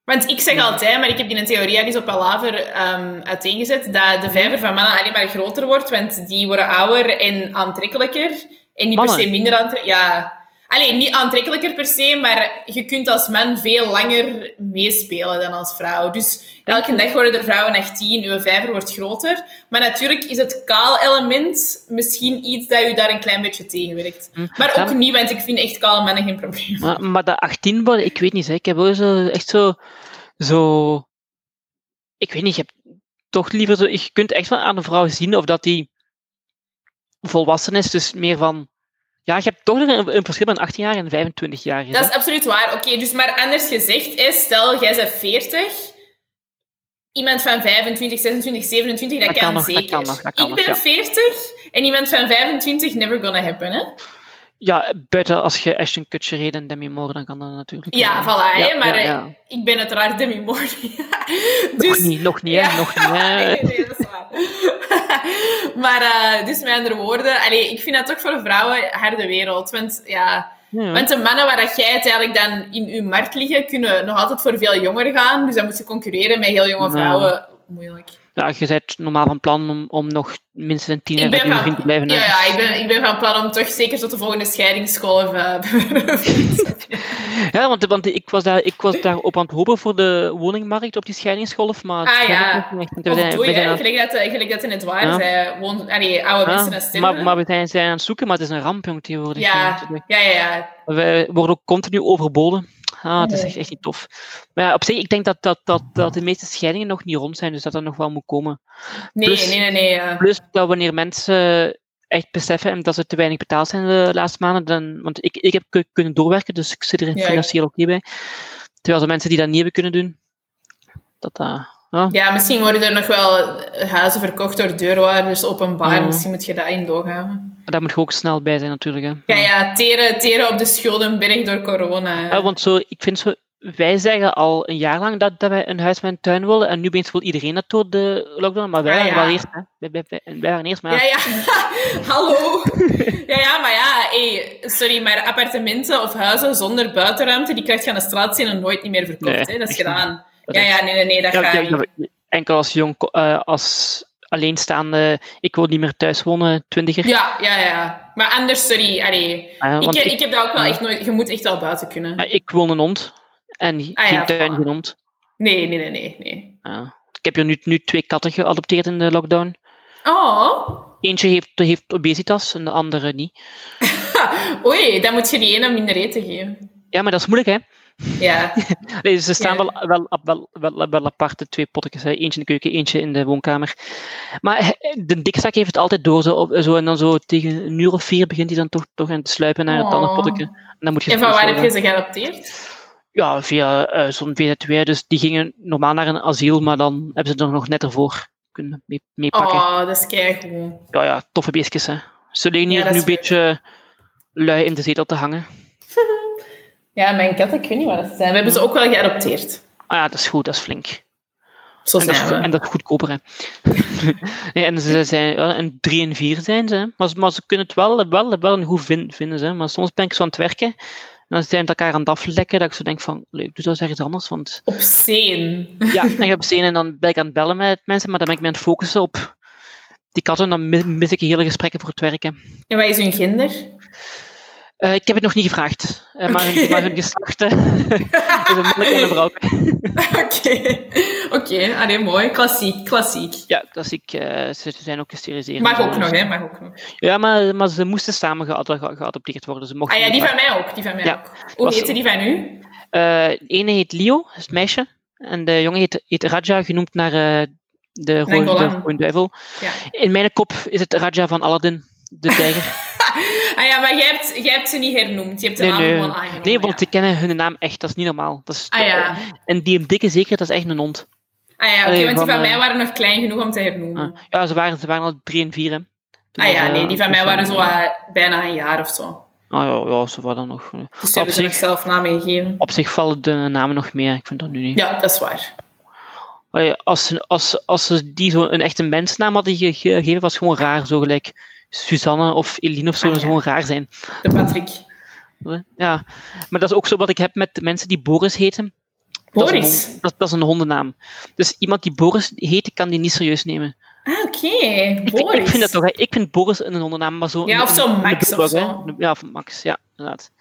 S2: Want ik zeg altijd, maar ik heb in een theorie al eens op Palaver ehm, uiteengezet, dat de vijver van mannen alleen maar groter wordt, want die worden ouder en aantrekkelijker. En niet
S1: Mannen?
S2: per se minder aantrekkelijk. Ja. Alleen niet aantrekkelijker per se, maar je kunt als man veel langer meespelen dan als vrouw. Dus elke dag worden er vrouwen 18, uw vijver wordt groter. Maar natuurlijk is het kaal-element misschien iets dat u daar een klein beetje tegenwerkt.
S1: Hm.
S2: Maar ook
S1: Ja.
S2: niet, want ik vind echt kale mannen geen probleem.
S1: Maar, maar dat 18 worden, ik weet niet, hè. ik heb wel zo, echt zo, zo... Ik weet niet, je hebt toch liever zo... Je kunt echt wel aan een vrouw zien of dat die volwassen is, dus meer van... Ja, je hebt toch nog een, een verschil van 18 jaar en 25 jaar.
S2: Dat is absoluut waar. Oké, dus maar anders gezegd, is, stel jij bent 40, iemand van 25, 26, 27, dat,
S1: Dat
S2: kan,
S1: kan nog, dat
S2: zeker.
S1: kan nog, dat kan
S2: ik
S1: nog,
S2: ben
S1: ja.
S2: 40 en iemand van 25, never gonna happen, hè?
S1: ja, buiten als je Ashton Kutcher reed en Demi Moore, dan kan dat natuurlijk.
S2: Ja, voilà. hè, maar eh, ik ben uiteraard Demi Moore. [LAUGHS]
S1: Nog niet, nog niet, hè,
S2: Ja.
S1: nog niet. Hè.
S2: [LAUGHS] Nee, nee, dat is waar. [LAUGHS] maar eh, dus met andere woorden, allee, ik vind dat toch voor vrouwen harde wereld. Want, ja,
S1: Ja.
S2: want de mannen waar dat jij het eigenlijk dan in uw markt liggen, kunnen nog altijd voor veel jonger gaan. Dus dan moet je concurreren met heel jonge
S1: Nou.
S2: vrouwen. Moeilijk.
S1: Ja, je bent normaal van plan om, om nog minstens een tien jaar
S2: Ik
S1: bij
S2: ben,
S1: je vriend te
S2: van,
S1: blijven. hè.
S2: ja, ja, ik, ben, ik ben van plan om toch zeker tot de volgende scheidingsschool. eh, [LAUGHS]
S1: Ja, want, want ik, was daar, ik was daar op aan het hopen voor de woningmarkt op die scheidingsgolf, maar het
S2: Ah,
S1: schijnt
S2: ja.
S1: ook niet echt. we
S2: of
S1: zijn,
S2: doe
S1: we
S2: je,
S1: zijn aan-
S2: gelijk dat, eh, gelijk dat in het waar
S1: Ja.
S2: zei, woon, allee, oude
S1: ja,
S2: mensen en stemmen.
S1: maar, maar we zijn, zijn aan het zoeken, maar het is een ramp jong, tegenwoordig.
S2: Ja.
S1: hè.
S2: Ja, ja, ja.
S1: We worden ook continu overboden. Ah, dat is echt, echt niet tof. Maar ja, op zich, ik denk dat, dat, dat, dat de meeste scheidingen nog niet rond zijn, dus dat dat nog wel moet komen.
S2: Nee,
S1: Plus-
S2: nee, nee, eh. nee. ja.
S1: Plus dat wanneer mensen echt beseffen en dat ze te weinig betaald zijn de laatste maanden, dan, want ik, ik heb ku- kunnen doorwerken, dus ik zit er
S2: Ja.
S1: financieel oké bij. Terwijl de mensen die dat niet hebben kunnen doen, dat dat... Ja,
S2: Ja, misschien worden er nog wel huizen verkocht door deurwaarders openbaar.
S1: Ja.
S2: Misschien moet je dat in doorgaan.
S1: daar moet je ook snel bij zijn natuurlijk. Hè.
S2: Ja, ja, teren, teren op de schuldenberg door corona.
S1: Ja, want zo, ik vind zo, wij zeggen al een jaar lang dat, dat wij een huis met een tuin willen. En nu opeens wil iedereen dat door de lockdown. Maar wij
S2: Ah,
S1: waren
S2: ja.
S1: wel eerst. Hè. Wij, wij, wij- wij waren eerst, maar ja.
S2: ja, ja.
S1: Ah.
S2: [LAUGHS] Hallo. Ja, ja, maar ja, hey, sorry, maar appartementen of huizen zonder buitenruimte, die krijg je aan de straat zien en nooit niet meer verkocht.
S1: Nee,
S2: hè. Dat is
S1: echt
S2: gedaan.
S1: Dat
S2: Ja,
S1: is-
S2: ja, nee, nee, nee, dat
S1: Ja,
S2: gaat
S1: ja,
S2: niet.
S1: ja, enkel als jong, ko- eh, als alleenstaande, ik wil niet meer thuis wonen, twintiger.
S2: Ja, ja, ja. Maar anders, sorry, allee.
S1: Eh,
S2: Ik,
S1: want
S2: heb-
S1: ik,
S2: ik heb dat ook wel echt nooit... Je moet echt wel buiten kunnen.
S1: eh, ik wil een hond en geen
S2: Ah, ja,
S1: tuin,
S2: voilà.
S1: geen hond.
S2: Nee, nee, nee, nee. nee.
S1: Ja. ik heb hier nu, nu twee katten geadopteerd in de lockdown.
S2: Oh,
S1: Eentje heeft, heeft obesitas en de andere niet.
S2: oei, dan moet je die ene minder eten geven.
S1: Ja, maar dat is moeilijk, hè? [LAUGHS]
S2: Ja,
S1: Nee, ze staan
S2: Ja.
S1: wel, wel, wel, wel, wel apart, de twee potjes. hè. Eentje in de keuken, eentje in de woonkamer. Maar he- de dikzak heeft het altijd door. Zo, op- zo, en dan zo tegen een uur of vier begint hij dan toch, toch aan te sluipen naar het
S2: Oh.
S1: andere potje. En dan moet je
S2: en van waar heb je
S1: terughouden.
S2: ze geadopteerd?
S1: Ja, via eh, zo'n VZW. Dus die gingen normaal naar een asiel, maar dan hebben ze er nog net ervoor kunnen mee, meepakken.
S2: Oh, dat is keigoed.
S1: Ja, ja, toffe beestjes, hè. Ze liggen
S2: Ja,
S1: hier
S2: dat
S1: nu
S2: is
S1: een beetje eh, lui in de zetel te hangen.
S2: Ja, mijn kat, ik weet niet wat dat zijn. We hebben ze ook wel geadopteerd.
S1: Ah ja, dat is goed, dat is flink.
S2: Zo
S1: En dat, is,
S2: zijn we.
S1: en dat is goedkoper, hè. [LAUGHS] nee, en ze zijn, ja, en drie en vier zijn ze, hè. maar, ze- maar ze kunnen het wel, wel, wel een goed vin- vinden, ze. Maar soms ben ik zo aan het werken, en dan zijn we het elkaar aan het aflekken, dat ik zo denk van, leuk, doe dat eens ergens anders,
S2: [LAUGHS]
S1: want
S2: Op zee.
S1: ja, en je hebt zin en dan ben ik aan het bellen met mensen, maar dan ben ik me aan het focussen op die katten, en dan mi- mis ik hele gesprekken voor het werken.
S2: En wat is hun gender?
S1: Eh, ik heb het nog niet gevraagd, eh, maar, hun, maar [LAUGHS] hun geslachten
S2: [LAUGHS]
S1: is een mannelijk en een vrouw.
S2: [LAUGHS] Oké, oké, allee, mooi. Klassiek, klassiek.
S1: Ja, klassiek, eh, ze ze zijn ook gesteriliseerd.
S2: Mag
S1: en zo,
S2: ook
S1: dus-
S2: nog, hè? Mag ook nog.
S1: Ja, maar, maar ze moesten samen gead- ge- geadopteerd worden. Ze mochten
S2: Ah ja,
S1: niet
S2: die van
S1: apart.
S2: mij ook. Die van mij
S1: Ja,
S2: ook. Hoe
S1: was-
S2: heette die van u?
S1: Eh, de ene heet Leo, dat is het meisje. En de jongen heet, heet Raja, genoemd naar eh, de rode
S2: Golan.
S1: de rode duivel.
S2: Ja.
S1: In mijn kop is het Raja van Aladdin, de
S2: [LAUGHS]
S1: tijger.
S2: Ah ja, maar jij hebt, jij hebt ze niet hernoemd. Je hebt de
S1: Nee,
S2: naam
S1: nee.
S2: gewoon aangenomen.
S1: nee, want
S2: ja.
S1: ze kennen hun naam echt, dat is niet normaal. Dat is, eh,
S2: Ah ja,
S1: En die hem dikke zeker, dat is echt een hond.
S2: ah, ja oké,
S1: Allee,
S2: want die
S1: van,
S2: van mij
S1: eh,
S2: waren nog klein genoeg om te hernoemen.
S1: Ah, ja, ze waren, ze waren al drie en vier, hè.
S2: Mm. Ah ja,
S1: Dus, eh,
S2: nee, die van mij
S1: dus,
S2: waren zo
S1: eh,
S2: eh, bijna een jaar of zo.
S1: Ah ja, ja, ze waren dan nog.
S2: Dus ze
S1: op,
S2: hebben ze nog
S1: zich,
S2: zelf namen gegeven.
S1: op zich vallen de namen nog meer, ik vind dat nu niet.
S2: Ja, dat is waar.
S1: Allee, Als ze, als, ze- als ze die zo een echte mensnaam hadden ge- gegeven, was het gewoon raar. Zo gelijk Suzanne of Eline of zo,
S2: Ah,
S1: dat
S2: ja.
S1: zou gewoon raar zijn.
S2: De Patrick.
S1: Ja, maar dat is ook zo wat ik heb met mensen die Boris heten. Dat is een
S2: Boris.
S1: hond- Dat, dat is een hondennaam. Dus iemand die Boris heet, ik kan die niet serieus nemen.
S2: Ah, oké.
S1: Ik-
S2: Boris.
S1: Ik, vind dat toch, hè. ik vind Boris een hondennaam, maar zo...
S2: Ja, of zo
S1: een-
S2: Max
S1: een
S2: of
S1: bulldog,
S2: zo.
S1: hè. Ja, of Max, ja, inderdaad.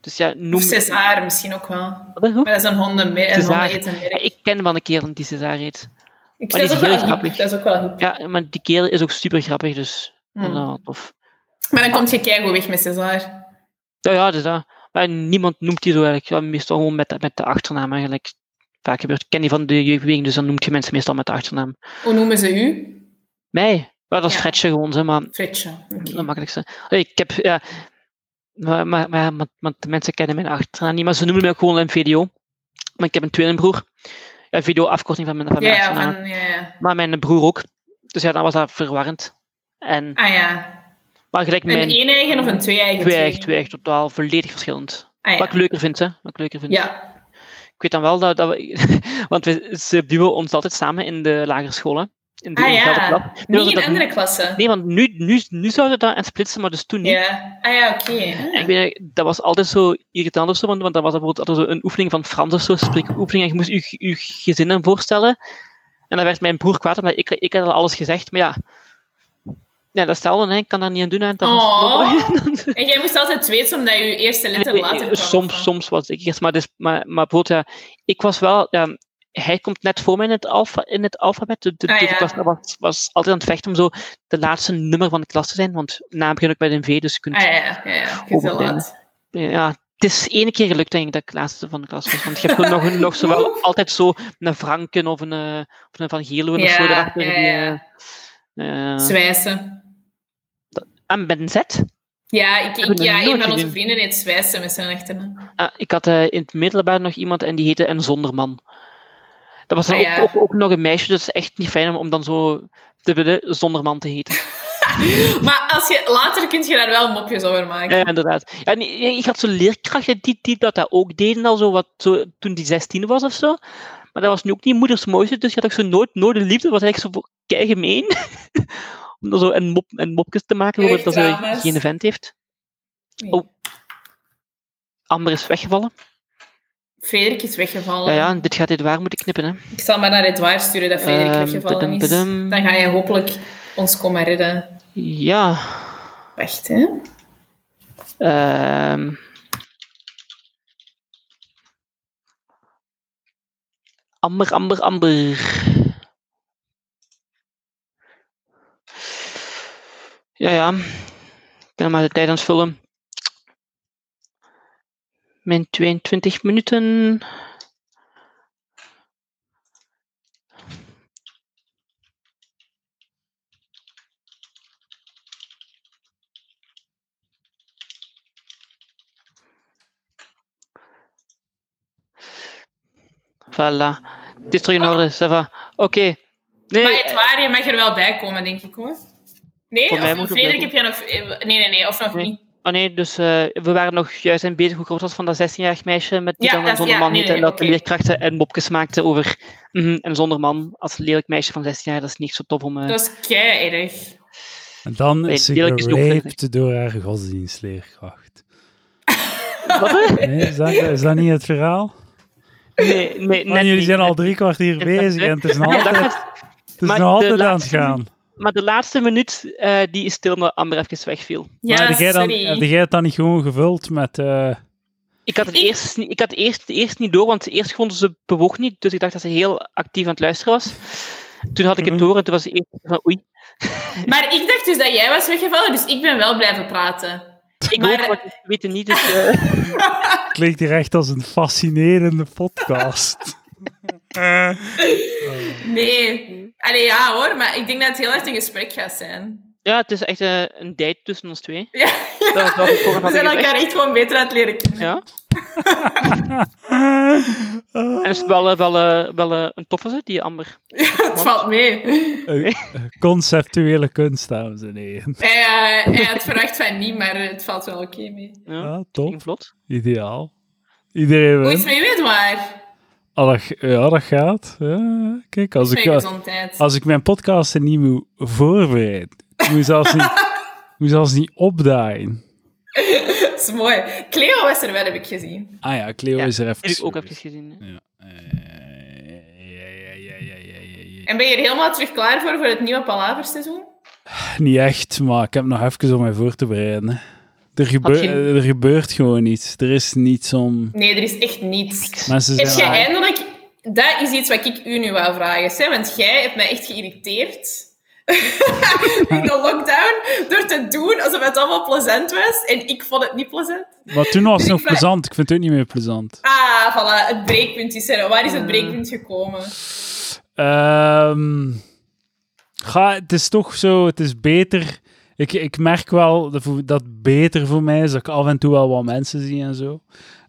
S1: Dus ja, noem...
S2: Of César misschien ook wel.
S1: Wat is het?
S2: Maar dat is een honden, een
S1: César.
S2: hondenetenmerk.
S1: Ik ken wel een kerel die César heet.
S2: Ik
S1: Maar
S2: vind
S1: die
S2: dat
S1: is
S2: ook wel
S1: heel
S2: hip.
S1: grappig.
S2: Dat is ook wel hip.
S1: Ja, maar die kerel is ook super grappig, dus...
S2: Mm.
S1: dat is wel tof.
S2: Maar dan komt je keigoed weg met César.
S1: Ja, ja, dus dat. Maar niemand noemt die zo eigenlijk. Ja, meestal gewoon met, de- met de achternaam eigenlijk. Vaak gebeurt. Ik ken die van de jeugdbeweging, dus dan noemt je mensen meestal met de achternaam.
S2: Hoe noemen ze u?
S1: Mij? Ja, dat is
S2: Ja.
S1: Fretje gewoon, zeg maar.
S2: Fritje. Oké.
S1: Dat makkelijkste. Allee, Ik heb, ja... Maar, maar, maar, maar, maar de mensen kennen mijn achternaam niet, maar ze noemen mij ook gewoon MVDO. Maar ik heb een tweelingbroer. Ja, VDO, afkorting van mijn, van
S2: Ja,
S1: mijn
S2: ja,
S1: achternaam.
S2: van, ja, ja.
S1: Maar mijn broer ook. Dus ja, dan was dat verwarrend. En,
S2: Ah ja.
S1: Maar gelijk
S2: Een
S1: mijn
S2: een-eigen of een twee-eigen?
S1: twee-eigen, twee-eigen totaal volledig verschillend.
S2: Ah, ja.
S1: Wat ik leuker vind, hè. Wat ik leuker vind.
S2: ja.
S1: Ik weet dan wel dat, dat we... [LAUGHS] Want we, ze duwen ons altijd samen in de lagere scholen. In de
S2: Ah
S1: in de
S2: ja,
S1: klap. Nu was
S2: niet in
S1: dat-
S2: andere klassen.
S1: Nee, want nu, nu, nu zouden we dat en splitsen, maar dus toen niet.
S2: Ja. Ah ja, oké. Ah.
S1: En Ik weet, niet, dat was altijd zo irritant of zo, want, want dan was dat bijvoorbeeld altijd zo een oefening van Frans of zo, spreekoefening, en je moest je, je gezinnen voorstellen. En dan werd mijn broer kwaad, omdat ik, ik had al alles gezegd, maar ja. Ja, dat stelde, hè. ik kan daar niet aan doen. Hè. Dat was-
S2: Oh.
S1: [LAUGHS]
S2: En jij moest altijd weten omdat je eerste letter
S1: Nee,
S2: later
S1: eh,
S2: kwam.
S1: soms, soms was ik eerst, maar, dus, maar, maar bijvoorbeeld, ja, ik was wel, ja, hij komt net voor mij in het, alfa, in het alfabet, dus dus
S2: Ah, ja.
S1: ik was, was, was altijd aan het vechten om zo de laatste nummer van de klas te zijn, want na begin ik met een V, dus je kunt
S2: Ah ja, ja, ja. ja. Je is al
S1: Overdenken.
S2: laat.
S1: ja, het is één keer gelukt, denk ik, dat ik laatste van de klas was. Want je hebt nog, nog
S2: [LAUGHS]
S1: zowel altijd zo een Franken of een, eh, of een Van Geelhoeven of
S2: Ja,
S1: zo. erachter
S2: ja,
S1: die,
S2: ja.
S1: eh, eh,
S2: Zwijsen.
S1: en met een Z.
S2: Ja, ik, ik,
S1: Hebben we
S2: ja
S1: nooit
S2: een van onze
S1: gezien.
S2: vrienden heet Zwijsen met zijn achternaam.
S1: Ah, ik had eh, in het middelbaar nog iemand en die heette een Zonderman. Dat was dan
S2: Ah, ja.
S1: ook, ook, ook nog een meisje, dus echt niet fijn om, om dan zo te willen Zonderman te
S2: [LAUGHS]
S1: heten.
S2: Maar als je, later kun je daar wel mopjes over maken.
S1: Ja, Eh, inderdaad. Ja, En ik had zo leerkrachten die, die dat, dat ook deden, al zo, wat, zo, toen die 16 was of zo. Maar dat was nu ook niet moeders mooiste, dus je had ook zo nooit, nooit de liefde. Dat was eigenlijk zo kei gemeen. [LAUGHS] Om dan zo een, mop, een mopjes te maken over dat ze
S2: Jeugddrama's.
S1: geen vent heeft.
S2: Nee.
S1: Oh. Amber is weggevallen.
S2: Frederik is weggevallen.
S1: Ja, ja, en dit gaat dit waar moeten knippen, hè.
S2: Ik zal maar naar Edouard sturen dat Frederik
S1: Ehm,
S2: weggevallen is.
S1: padum, padum.
S2: Dan ga je hopelijk ons komen redden.
S1: Ja.
S2: Wacht, hè.
S1: Ehm. Amber, amber, amber. Ja, ja. Ik ben maar de tijd aan het vullen. Mijn 22 minuten. Voilà. Het is terug in orde, ça va. Oké. Nee,
S2: Maar Edouard, je mag er wel bij komen, denk ik, hoor. Nee,
S1: eh, Voor mij
S2: of
S1: moet het
S2: Frederik heb je nog... eh, Nee, nee, nee, of nog
S1: Nee.
S2: niet.
S1: Oh nee, dus eh, we waren nog juist in bezig hoe groot was van dat 16-jarig meisje met die
S2: Ja,
S1: dan
S2: dat
S1: een
S2: is-
S1: zonder
S2: ja,
S1: man
S2: nee,
S1: heette en
S2: nee,
S1: dat de
S2: oké.
S1: leerkrachten en mopjes maakten over mhm, een zonder man als lelijk meisje van 16 jaar. Dat is niet zo tof om... eh,
S2: Dat is kei erg.
S3: En dan
S1: Nee,
S3: is ze
S1: eerlijk is het ook
S3: geraped door haar godsdienstleerkracht.
S1: Wat, hè?
S3: Nee, is, dat, is dat niet het
S1: [LAUGHS]
S3: verhaal?
S1: [LAUGHS] Nee, nee,
S3: Man,
S1: net
S3: jullie
S1: niet, [LAUGHS]
S3: zijn
S1: net
S3: al drie kwartier
S1: niet.
S3: bezig en het is nog
S1: Ja, dat
S3: altijd,
S1: gaat-
S3: het is
S1: maar
S3: nog
S1: de
S3: altijd aan het
S1: laatste-
S3: gaan.
S1: maar de laatste minuut eh, die is stil omdat Amber even wegviel.
S2: Ja,
S3: maar heb jij, dan, eh,
S2: sorry.
S3: heb jij het dan niet gewoon gevuld met... eh,
S1: Ik had het
S2: Ik-
S1: eerst, niet- ik had het eerst, eerst niet door, want eerst gewoon ze bewoog niet. Dus ik dacht dat ze heel actief aan het luisteren was. Toen had ik het
S3: Mhm.
S1: door en toen was ze eerst van oei.
S2: Maar ik dacht dus dat jij was weggevallen, dus ik ben wel blijven praten.
S1: Ik
S2: Maar-
S1: hoor wat ik weet het niet, dus... eh,
S3: klinkt hier echt als een fascinerende podcast. [LAUGHS] Eh,
S2: Nee. Allee, ja hoor, maar ik denk dat het heel erg een gesprek gaat zijn.
S1: Ja, het is echt eh, een date tussen ons twee.
S2: Ja,
S1: Dat was wel voor
S2: [LAUGHS] we
S1: had
S2: zijn
S1: ik
S2: elkaar
S1: gezegd.
S2: echt gewoon beter aan het leren kennen.
S1: Ja. En het is wel, eh, wel, eh, wel eh, een toffe ze, die Amber.
S2: Het valt mee.
S3: eh, Conceptuele kunst, dames en heren.
S2: Hij, eh, hij had [LAUGHS] verwacht van niet, maar het valt wel oké mee.
S1: Ja,
S3: Ja,
S1: ging
S3: top.
S1: vlot.
S3: Ideaal. Iedereen
S2: Hoe is het
S3: wint.
S2: met u, Edouard?
S3: Ah, dat g- Ja, dat gaat. Ja, kijk, als
S2: Mijn
S3: ik, eh,
S2: gezondheid.
S3: als ik mijn podcasten niet moet voorbereiden, ik moet
S1: [LAUGHS]
S3: zelfs niet, moet zelfs niet opdaaien.
S2: Dat is mooi. Cleo was er wel, heb ik gezien.
S3: Ah ja, Cleo
S1: Ja,
S3: is er even.
S1: Die heb ik ook even
S3: geweest.
S1: gezien. hè.
S3: Ja. Eh, ja, ja, ja, ja, ja, ja, ja.
S2: En ben je er helemaal terug klaar voor, voor het nieuwe Palaverseizoen?
S3: Niet echt, maar ik heb nog even om mij voor te bereiden. hè. Er, gebeur-
S1: je-
S3: eh, er gebeurt gewoon niets. Er is niets om.
S2: Nee, er is echt niets.
S3: Mensen
S2: Heb
S3: zijn
S2: jij
S3: aan-
S2: eindelijk... Dat is iets wat ik u nu wou vragen, Sam, want jij hebt mij echt geïrriteerd [LAUGHS] in de lockdown door te doen alsof het allemaal plezant was en ik vond het niet plezant.
S3: Maar toen was het
S2: Ik
S1: [LAUGHS]
S3: nog
S2: vraag-
S3: plezant. Ik vind het ook niet meer plezant.
S2: Ah, voilà, het breekpunt is er. Waar is het breekpunt gekomen?
S3: Ehm, ga, het is toch zo, het is beter. Ik, ik merk wel dat, voor- dat het beter voor mij is dat ik af en toe wel wat mensen zie en zo.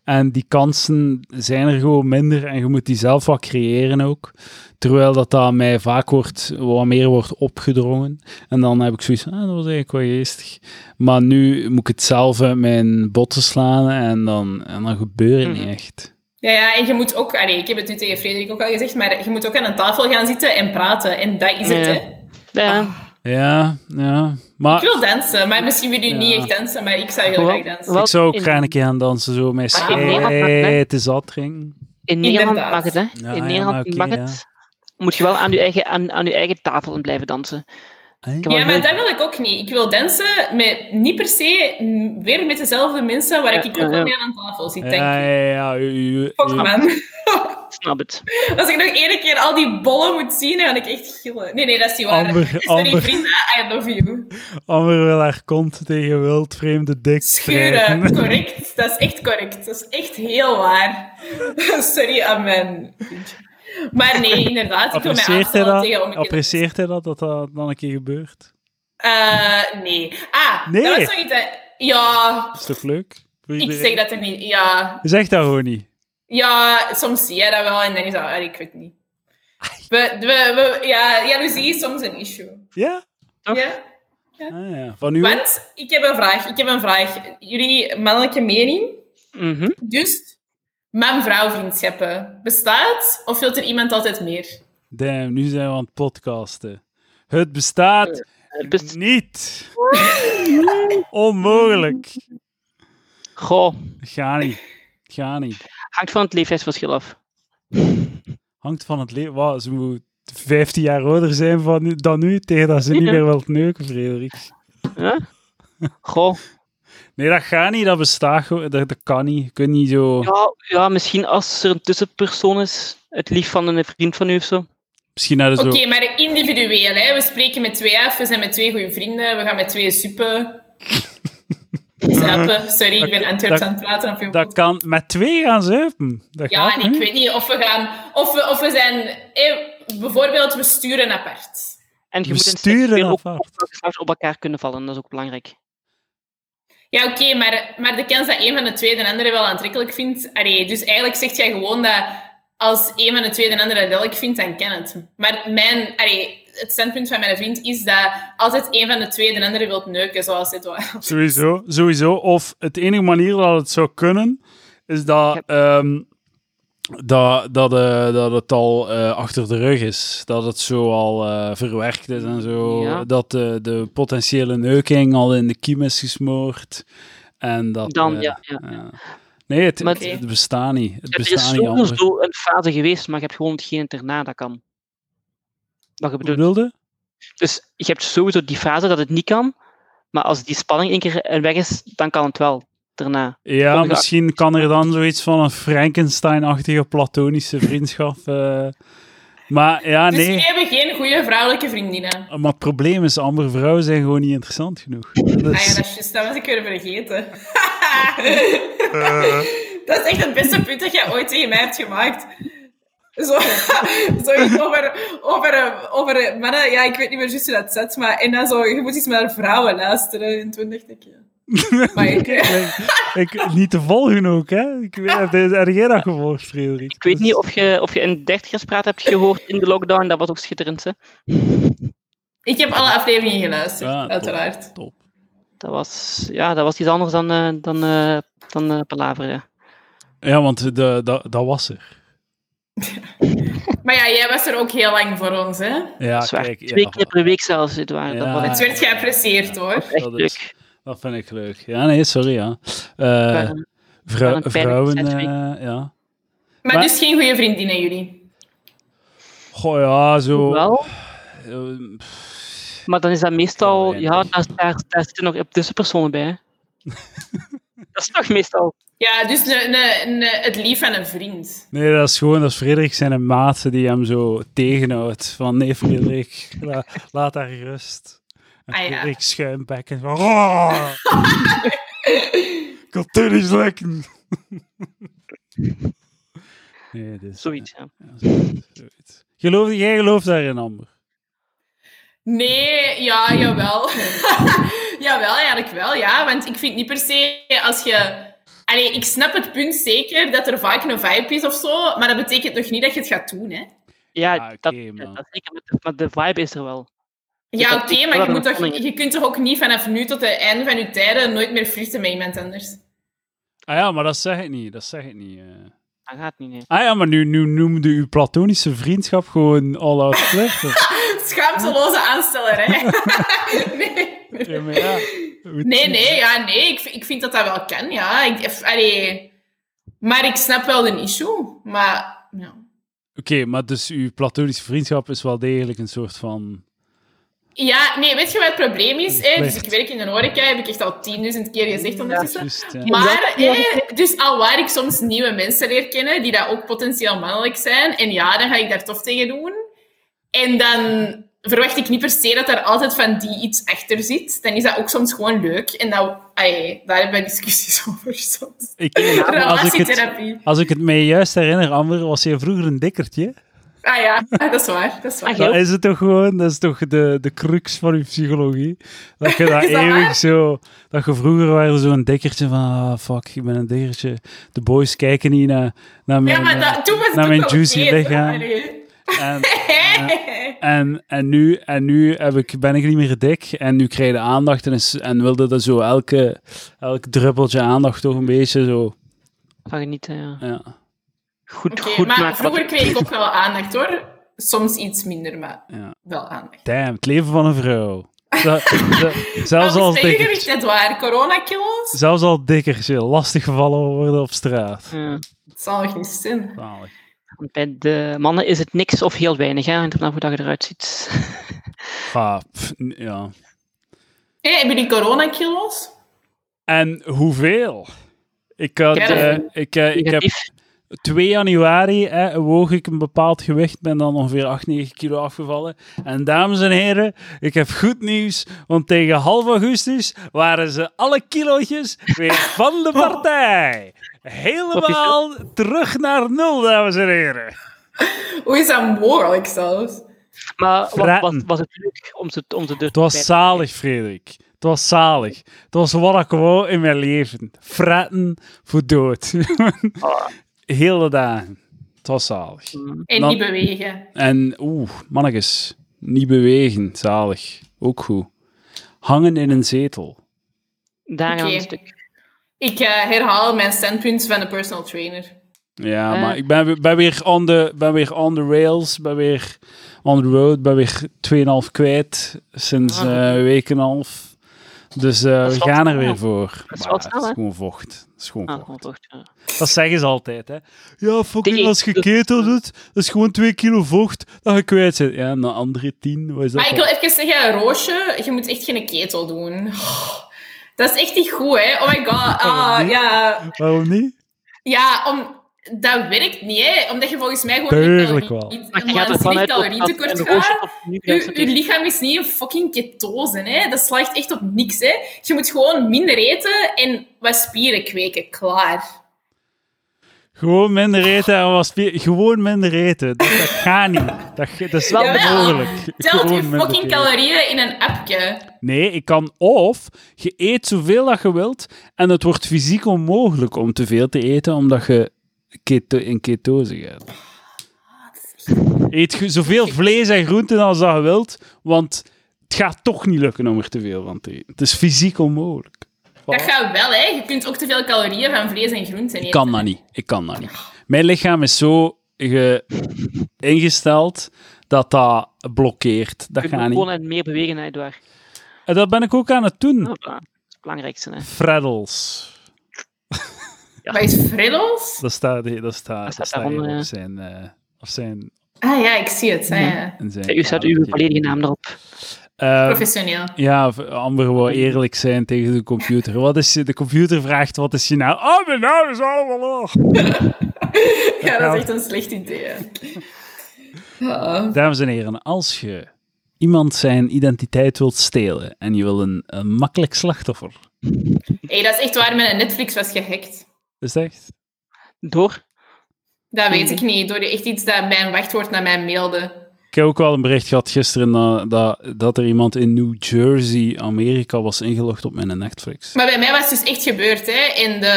S3: En die kansen zijn er gewoon minder en je moet die zelf wat creëren ook. Terwijl dat, dat mij vaak wordt, wat meer wordt opgedrongen. En dan heb ik zoiets ah, dat was eigenlijk wel geestig. Maar nu moet ik het zelf uit mijn botten slaan en dan, en dan gebeurt het niet echt.
S2: Ja, ja, en je moet ook, allee, ik heb het nu tegen Frederik ook al gezegd, maar je moet ook aan een tafel gaan zitten en praten. En dat is het,
S1: Ja.
S2: hè.
S1: Ja.
S2: Ah,
S3: Ja, ja.
S2: Ik
S3: Maar
S2: wil dansen, maar misschien willen jullie
S3: Ja.
S2: niet echt dansen, maar ik zou heel
S1: Wel-
S2: graag dansen.
S1: wel-
S3: ik zou ook
S1: in-
S3: graag een keer gaan dansen, zo met
S1: Ah, in Nederland mag het, hè?
S3: schijt, is dat ring.
S1: In Nederland
S2: Inderdaad.
S1: mag het, hè?
S3: Ja, ja,
S1: in Nederland
S3: maar oké,
S1: mag
S3: ja.
S1: het. Moet je wel aan je eigen, aan, aan je eigen tafelen blijven dansen.
S3: Hey?
S1: heb wel
S2: Ja, maar
S1: heel-
S2: dat wil ik ook niet. Ik wil dansen met, niet per se mm, weer met dezelfde mensen waar
S1: Ja,
S2: ik
S1: ja,
S2: ook
S1: ja.
S2: al mee aan tafel zit,
S3: Ja,
S2: denk ik.
S3: ja, ja. u- u- u-
S2: Fuck, man. [LAUGHS]
S1: Snap het.
S2: Als ik nog één keer al die bollen moet zien, dan ga ik echt gillen. Nee, nee, dat is niet waar. [LAUGHS]
S3: Amber,
S2: Sorry,
S3: Amber.
S2: vrienden, I love you.
S3: Amber wil haar kont tegen wildvreemde dik [LAUGHS]
S2: Schuren,
S3: strijken.
S2: correct. Dat is echt correct. Dat is echt heel waar. [LAUGHS] Sorry aan mijn vriendje. Maar nee, inderdaad, ik wil mij
S3: Apprecieert hij
S2: aanstellen tegen
S3: dat?
S2: om een keer-
S3: Apprecieert hij dat, dat dat dan een keer gebeurt?
S2: Eh, nee. Ah,
S3: Nee.
S2: dat was zoiets dat... Ja,
S3: Is toch leuk? Voor
S2: ik
S3: iedereen?
S2: zeg dat er niet... Ja,
S3: Zeg dat gewoon niet.
S2: ja soms zie je dat wel en dan is dat... ah, Ik weet niet. We, we, we- ja, jaloezie is soms een issue.
S3: Ja?
S1: Toch?
S2: Ja?
S3: Ah, ja. Van u?
S2: Want, ik heb een vraag. Ik heb een vraag. Jullie mannelijke mening?
S1: Mhm.
S2: Dus, man-vrouw vriendschappen. Bestaat of wil er iemand altijd meer?
S3: Damn, nu zijn we aan het podcasten. Het bestaat
S1: Het Eh, best-
S2: [LAUGHS]
S3: niet. Onmogelijk.
S1: Goh,
S3: Ga niet. Ga niet.
S1: hangt van het leeftijdsverschil af.
S3: Hangt van het leven. Wauw, ze moet 15 jaar ouder zijn van nu, dan nu, tegen dat ze
S2: [LAUGHS]
S3: niet meer wilt neuken, Frederik.
S1: Ja? Goh.
S3: Nee, dat gaat niet. Dat bestaat gewoon. Dat, dat kan niet. Je kunt niet zo...
S1: Ja, ja, misschien als er een tussenpersoon is, het lief van een vriend van u of zo.
S3: Misschien naar
S2: Oké,
S3: zo...
S2: maar individueel. Hè? We spreken met twee af. We zijn met twee goede vrienden. We gaan met twee suppen. Zuipen. Sorry, ik ben Antwerps
S3: dat-
S2: aan het praten. op je
S3: Dat kan met twee gaan zuipen. Dat
S2: Ja,
S3: gaat
S2: en ik
S3: niet.
S2: weet niet of we gaan... Of we, of we zijn... eh, bijvoorbeeld, we sturen apart.
S1: En je
S3: We
S1: moet in
S3: sturen
S1: seksueel op,
S3: apart.
S1: op- op- op elkaar kunnen vallen, dat is ook belangrijk.
S2: Ja, oké, maar, maar de kans dat een van de twee de andere wel aantrekkelijk vindt... Allee, dus eigenlijk zegt jij gewoon dat als een van de twee de andere lelijk vindt, dan kan het. Maar mijn, allee, het standpunt van mijn vriend is dat altijd een van de twee de andere wilt neuken, zoals dit was.
S3: Sowieso, sowieso. Of het enige manier dat het zou kunnen, is dat, ehm, dat, dat, eh, dat het al eh, achter de rug is. Dat het zo al eh, verwerkt is en zo.
S1: Ja.
S3: Dat eh, de potentiële neuking al in de kiem is gesmoord. En dat,
S1: Dan,
S3: eh,
S1: ja, ja.
S3: ja. Nee, het,
S1: Maar-
S3: het, het bestaat niet. Het
S1: Er is
S3: bestaat niet anders. Wat
S1: sowieso een fase geweest, maar je hebt gewoon hetgeen het erna dat kan. Wat je bedoelt.
S3: bedoelde?
S1: Dus je hebt sowieso die fase dat het niet kan, maar als die spanning een keer eh, weg is, dan kan het wel daarna.
S3: Ja,
S1: Ongeacht-
S3: misschien kan er dan zoiets van een Frankenstein-achtige platonische vriendschap. eh. maar ja,
S2: Dus
S3: Ah, nee. Oh,
S2: jullie hebben geen goede vrouwelijke vriendinnen.
S3: Eh, Maar het probleem is, andere vrouwen zijn gewoon niet interessant genoeg. Dat
S2: Ah ja,
S3: is-
S2: dat, is juist, dat was ik weer vergeten. [LAUGHS] Dat is echt het beste punt dat jij ooit tegen mij hebt gemaakt. Zo, [LAUGHS] zoiets over, over, over mannen, ja, ik weet niet meer juist hoe dat zat, maar en dan zo, je moet iets naar vrouwen luisteren. En toen dacht ik,
S3: [LAUGHS]
S2: ja. Maar ik,
S3: ik, ik- niet te volgen ook, hè? Ik weet, heb je- heb jij dat gevolgd, Frederik?
S1: Ik weet niet of je, of je een dertigerspraat hebt gehoord in de lockdown, dat was ook schitterend. Hè?
S2: ik heb alle afleveringen geluisterd,
S3: Ja, top.
S2: uiteraard.
S3: Top.
S1: Dat, was, ja, dat was iets anders dan, eh, dan, eh, dan eh, Palaver. Ja.
S3: Ja, want de, dat- dat was er.
S2: Maar ja, jij was er ook heel lang voor ons, hè?
S3: Ja,
S1: Dat is waar.
S3: kijk.
S1: Twee
S3: ja,
S1: keer per week zelfs, dit waar.
S3: Ja.
S1: Dat was
S2: Het werd geapprecieerd, hoor.
S1: echt
S3: dat is-
S1: leuk.
S3: Dat vind ik leuk. Ja, nee, sorry, ja. Eh,
S1: Ja.
S3: vrou-
S1: een pijnlijke
S3: vrouwen,
S1: setweek.
S3: eh, ja.
S2: Maar
S3: Maar-
S2: dus geen goede vriendinnen, jullie.
S3: Goh, ja, zo...
S1: Wel,
S3: eh,
S1: maar dan is dat meestal...
S3: Heel
S1: Ja,
S3: weinig.
S1: daar, daar, daar zitten nog tussenpersonen
S3: [LAUGHS]
S1: bij. hè. dat is toch meestal...
S2: Ja, dus ne, ne, ne- het lief van een vriend.
S3: Nee, dat is gewoon, dat is Frederik zijn maat die hem zo tegenhoudt. Van nee, Frederik, la- laat haar rust. En
S2: Ah, ja.
S3: Frederik schuimbekken van. "Oh, Ik kan toch niet lekken. nee, dus,
S1: Zoiets, ja.
S3: ja, zoiets, zoiets. Geloof, jij gelooft daarin, Amber.
S2: Nee, ja, [LAUGHS] jawel. jawel, eigenlijk wel, ja. Want ik vind niet per se als je Allee, ik snap het punt zeker dat er vaak een vibe is of zo, maar dat betekent nog niet dat je het gaat doen, hè?
S1: Ja,
S3: Ah, oké,
S1: dat,
S3: maar-
S1: dat zeker, maar de- maar de vibe is er wel.
S2: Ja,
S1: dat
S2: oké,
S1: is wel
S2: maar je,
S1: een
S2: moet toch,
S1: ontkenning.
S2: je kunt toch ook niet vanaf nu tot het einde van je tijden nooit meer flirten met iemand anders? [LAUGHS]
S3: Ah ja, maar dat zeg ik niet. Dat zeg ik niet. eh.
S1: Dat gaat niet, nee.
S3: Ah ja, maar nu, nu noemde uw platonische vriendschap gewoon all-out flirten.
S2: [LAUGHS] Schaamteloze aanstellerij. [LAUGHS] nee.
S3: Ja, maar ja, hoe
S2: nee,
S3: het-
S2: nee, ja, nee. Ik, v- ik vind dat dat wel kan, ja. Ik, f- allee. Maar ik snap wel de issue. Maar ja.
S3: Oké, maar dus uw platonische vriendschap is wel degelijk een soort van...
S2: ja, nee, weet je wat het probleem is? Hè? Dus
S3: Slecht.
S2: ik werk in een horeca, heb ik echt al 10.000 keer gezegd ondertussen.
S3: Juist, ja.
S2: Maar, eh, dus al waar ik soms nieuwe mensen leer kennen, die dat ook potentieel mannelijk zijn, en ja, dan ga ik daar tof tegen doen. En dan verwacht ik niet per se dat daar altijd van die iets achter zit. Dan is dat ook soms gewoon leuk. En dat, ai, daar hebben we discussies [LAUGHS] over soms.
S3: Ik, als, ik het,
S2: Relatietherapie.
S3: als ik het me juist herinner, Amber, was jij vroeger een dikkertje?
S2: Ah ja, [LAUGHS] dat is waar. Dat is waar.
S1: Ah,
S3: Dat
S1: Joop.
S3: is het toch gewoon, dat is toch de, de crux van je psychologie? Dat je
S2: [LAUGHS]
S3: dat
S2: Is dat
S3: eeuwig
S2: waar?
S3: zo, dat je vroeger waren zo'n dikkertje van, ah fuck, ik ben een dikkertje. De boys kijken niet naar, naar mijn... eh,
S2: ja, maar dat, toen was het
S3: naar
S2: ook
S3: mijn
S2: wel
S3: juicy
S2: oké, toch?
S3: lichaam.
S2: Allee.
S3: eh, en- En, en nu, en nu heb ik, ben ik niet meer dik. En nu krijg je aandacht. En, is, en wilde dat zo elke, elk druppeltje aandacht toch een beetje zo.
S1: Van genieten, ja.
S3: Ja.
S1: Goed,
S2: [LAUGHS] Oké,
S1: goed
S2: maar
S1: maken.
S2: vroeger kreeg ik ook wel aandacht hoor. Soms iets minder, maar
S3: Ja.
S2: wel aandacht.
S3: Damn, het leven van een vrouw. Zo-
S2: [LAUGHS]
S3: zo- zelfs,
S2: Maar
S3: als
S2: ons tegengewicht,
S3: dikker,
S2: dat waar. Coronakilo's?
S3: zelfs al dikkertje lastig gevallen worden op straat.
S1: Ja.
S2: Het zal nog niet zijn.
S3: Zalig.
S1: Want Bij de mannen is het niks of heel weinig, hè, hangt er vanaf hoe dat je eruit ziet.
S3: Ah, pff, n- ja.
S2: Hé, hebben jullie coronakilo's?
S3: En hoeveel? Ik, had,
S2: Ja, dat-
S3: eh, ik, eh, ik heb
S1: [LAUGHS] Negatief.
S3: 2 januari hè, woog ik een bepaald gewicht, ben dan ongeveer 8, 9 kilo afgevallen. En dames en heren, ik heb goed nieuws, want tegen half augustus waren ze alle kilootjes weer van
S2: [LAUGHS] Oh.
S3: de partij. Helemaal terug naar nul, dames en heren.
S2: Hoe is dat mogelijk zelfs?
S1: Maar wat,
S3: Vraten.
S1: was, was het leuk om ze, om ze dus
S3: Het was zalig, Frederik. Het was zalig. Het was wat ik wou in mijn leven. Fretten voor dood. [LAUGHS] Hele dagen. Het was zalig.
S2: En
S3: Nou-
S2: niet bewegen.
S3: En oeh, mannetjes, niet bewegen, zalig. Ook goed. Hangen in een zetel.
S1: Daar aan
S2: Oké.
S1: een stuk.
S2: Ik eh, herhaal mijn standpunt van de personal trainer.
S3: Ja,
S1: Eh.
S3: maar ik ben, we- ben, weer on the, ben weer on the rails, ben weer on the road, ben weer 2,5 kwijt sinds eh, een week en een half. Dus eh,
S1: Ah. is
S3: we
S1: wel
S3: gaan er
S1: snel.
S3: weer voor.
S1: Dat is
S3: Maar
S1: wel
S3: ja,
S1: snel,
S3: het is
S1: hè?
S3: gewoon vocht. Het is gewoon
S1: Ah,
S3: vocht.
S1: toch, ja.
S3: Dat zeggen ze altijd, hè. Ja, fucking,
S1: Dikkie.
S3: als
S2: dus-
S3: je ketel doet, dat is gewoon 2 kilo vocht dat je kwijt zit. Ja, en de andere 10, wat is dat?
S2: Maar ik
S3: dan?
S2: wil even zeggen, Roosje, je moet echt geen ketel doen. Oh, dat is echt niet goed, hè? Oh my god. Ah, ja.
S3: Waarom niet?
S2: ja, om... dat werkt niet, hè? Omdat je volgens mij gewoon
S3: Tuurlijk wel.
S2: niet
S1: Maar je gaat
S2: een
S1: ervan uit dat
S2: calorieën
S1: dat
S2: tekort
S1: een
S2: gaat.
S1: roosje op nu
S2: Uw, uw
S1: is.
S2: lichaam is niet een fucking ketose, hè. Dat slaagt echt op niks, hè. Je moet gewoon minder eten en wat spieren kweken. Klaar.
S3: Gewoon minder eten en was Gewoon minder eten. Dat, dat gaat niet. Dat, ge- dat is wel
S2: Jawel.
S3: mogelijk.
S2: Telt je
S3: Gewoon minder
S2: fucking
S3: eten.
S2: calorieën in een appje.
S3: Nee, ik kan of je eet zoveel dat je wilt en het wordt fysiek onmogelijk om te veel te eten omdat je keto in ketose gaat. Eet je zoveel vlees en groenten als dat je wilt, want het gaat toch niet lukken om er te veel van te eten. Het is fysiek onmogelijk.
S2: Dat
S3: Voilà.
S2: gaat wel, hè. Je kunt ook te veel calorieën van vlees en groenten eten.
S3: Ik kan dat niet. Ik kan dat niet. Mijn lichaam is zo ge- ingesteld dat dat blokkeert. Dat
S1: Je moet
S3: gaat
S1: gewoon
S3: niet.
S1: en meer bewegen, Edouard.
S3: En dat ben ik ook aan het doen.
S1: Dat is het belangrijkste. Hè.
S3: Freddles.
S2: Wat is frittels?
S3: Dat staat, hier- dat staat, dat
S1: staat
S3: staat
S1: daaronder,
S3: hier op
S1: ja.
S3: zijn... eh op zijn,
S2: Ah ja, ik zie het. Ah, ja.
S3: in zijn
S1: U staat uw volledige naam erop.
S3: Eh,
S2: Professioneel.
S3: ja, v- Amber wil eerlijk zijn tegen de computer. Wat is, je- de computer vraagt, wat is je naam? Oh, mijn naam is allemaal.
S2: [LAUGHS] Ja, dat is echt een slecht idee. hè. Oh. Ja.
S3: Dames en heren, als je iemand zijn identiteit wilt stelen en je wil een, een makkelijk slachtoffer,
S2: Hey, dat is echt waar mijn Netflix was gehackt.
S3: is dat echt?
S1: Door.
S3: Mhm.
S2: Dat weet ik niet. Door echt iets dat mijn wachtwoord naar mij mailde.
S3: Ik heb ook wel een bericht gehad gisteren dat, dat, dat er iemand in New Jersey, Amerika, was ingelogd op mijn Netflix.
S2: Maar bij mij was het dus echt gebeurd, hè? In de.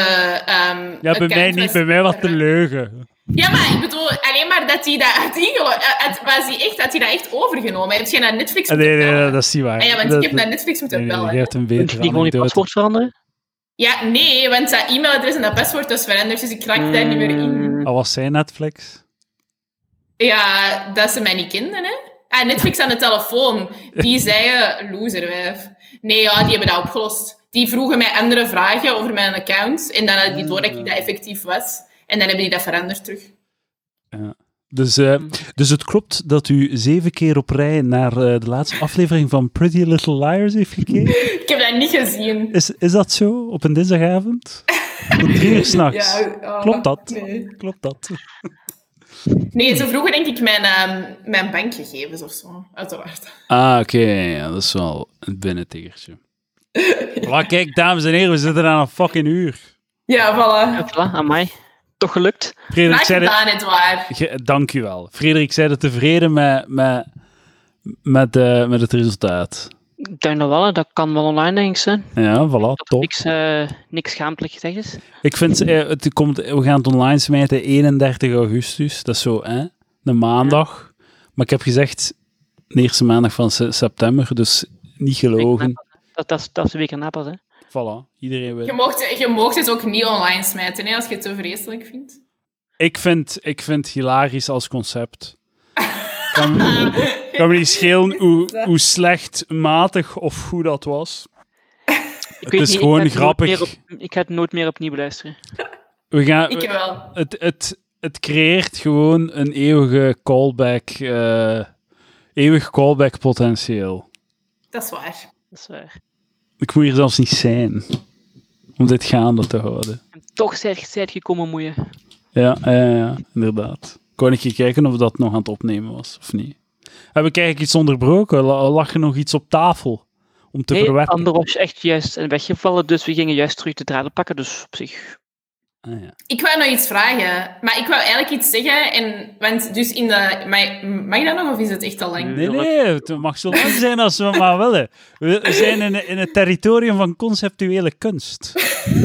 S2: ehm,
S3: Ja, bij
S2: account
S3: mij niet.
S2: was-
S3: Bij mij was de leugen.
S2: Ja, maar ik bedoel, alleen maar dat hij dat had ingelo- eh, had- was hij echt, had hij dat echt overgenomen? Heb je naar Netflix
S3: Ah,
S2: moeten
S3: Nee, nee,
S2: bellen?
S3: nee, dat is niet waar.
S2: Ah ja, want
S3: Dat-
S2: ik heb
S3: dat-
S2: naar Netflix moeten
S3: nee, nee,
S2: bellen.
S3: nee, Eh, je hebt een
S1: Kun je
S3: betere
S1: niet gewoon je
S3: anekdote.
S1: paswoord veranderen?
S2: Ja, nee, want dat e-mailadres en dat paswoord was veranderd, dus ik raakte daar niet meer in.
S1: Mm,
S3: Al was zij Ah, Netflix?
S2: Ja, dat ze mij niet kenden, hè. Ah, Netflix aan de telefoon.
S3: [LAUGHS]
S2: Die zeiden, loserwijf. Nee, ja, die hebben dat opgelost. Die vroegen mij andere vragen over mijn account. En dan hadden die door dat
S3: Ah.
S2: ik dat effectief was. En dan hebben die dat veranderd terug.
S3: Dus, eh,
S2: Mm.
S3: dus het klopt dat u zeven keer op rij naar eh, de laatste aflevering van Pretty Little Liars heeft
S2: [LAUGHS]
S3: gekeken?
S2: Ik heb dat niet gezien.
S3: Is, is dat zo? Op een dinsdagavond? Tot
S2: [LAUGHS]
S3: drie uur s'nachts?
S2: ja, oh,
S3: Klopt dat?
S2: Nee.
S3: Klopt dat?
S2: Nee, ze vroegen denk ik mijn, ehm, mijn bankgegevens of zo, uiteraard.
S3: Ah, oké. Ja, dat is wel een
S2: [LAUGHS]
S3: binnentegertje. Maar kijk, dames en heren, we zitten aan een fucking uur.
S2: Ja, voilà.
S1: voilà, amai. Toch gelukt.
S3: Frederik
S2: Raak
S3: zei het...
S2: gedaan, het waar.
S3: Ge- Dank u wel. Frederik zei het tevreden met, met, met, eh, met het resultaat.
S1: Ik denk dat wel, hè. dat kan wel online denk ik zijn.
S3: Ja, voilà,
S1: Dat er
S3: top.
S1: niks, eh niks schaamtelijk gezegd is.
S3: Ik vind, eh, het komt, we gaan het online smijten 31 augustus. Dat is zo, hè? Een maandag. Maar ik heb gezegd, de eerste maandag van se- september. Dus niet gelogen.
S1: Dat, dat, is- dat is de week erna pas, hè.
S3: Voilà, iedereen
S2: Je
S3: wil.
S2: mocht, je mocht het ook niet online smijten, hè, als je het zo vreselijk vindt.
S3: Ik vind, ik vind het hilarisch als concept. Kan, kan me niet schelen hoe, hoe slecht, matig of goed dat was.
S1: Ik
S3: Het
S1: weet
S3: is
S1: niet, ik ga
S3: gewoon
S1: het nooit meer
S3: grappig.
S1: op- ik ga het nooit meer opnieuw beluisteren.
S3: We gaan,
S2: Ik wel.
S3: het, het, het creëert gewoon een eeuwige callback, eh, eeuwig callback potentieel.
S2: Dat is waar.
S1: Dat is waar.
S3: Ik moet hier zelfs niet zijn om dit gaande te houden.
S1: En toch zijt zijt gekomen moeien.
S3: Ja, ja, ja, inderdaad. Kon ik je kijken of dat nog aan het opnemen was of niet? Heb ik eigenlijk iets onderbroken? La- Lag er nog iets op tafel om te
S1: Nee,
S3: verwerken?
S1: Ander was echt juist weggevallen, dus we gingen juist terug de draden pakken. Dus op zich,
S3: Ah, ja.
S2: Ik wou nog iets vragen, maar ik wou eigenlijk iets zeggen. En, want dus in de... maar- Mag je dat nog of is het echt al lang?
S3: Nee, nee, het mag zo lang zijn als we maar willen. We we zijn in, in het territorium van conceptuele kunst.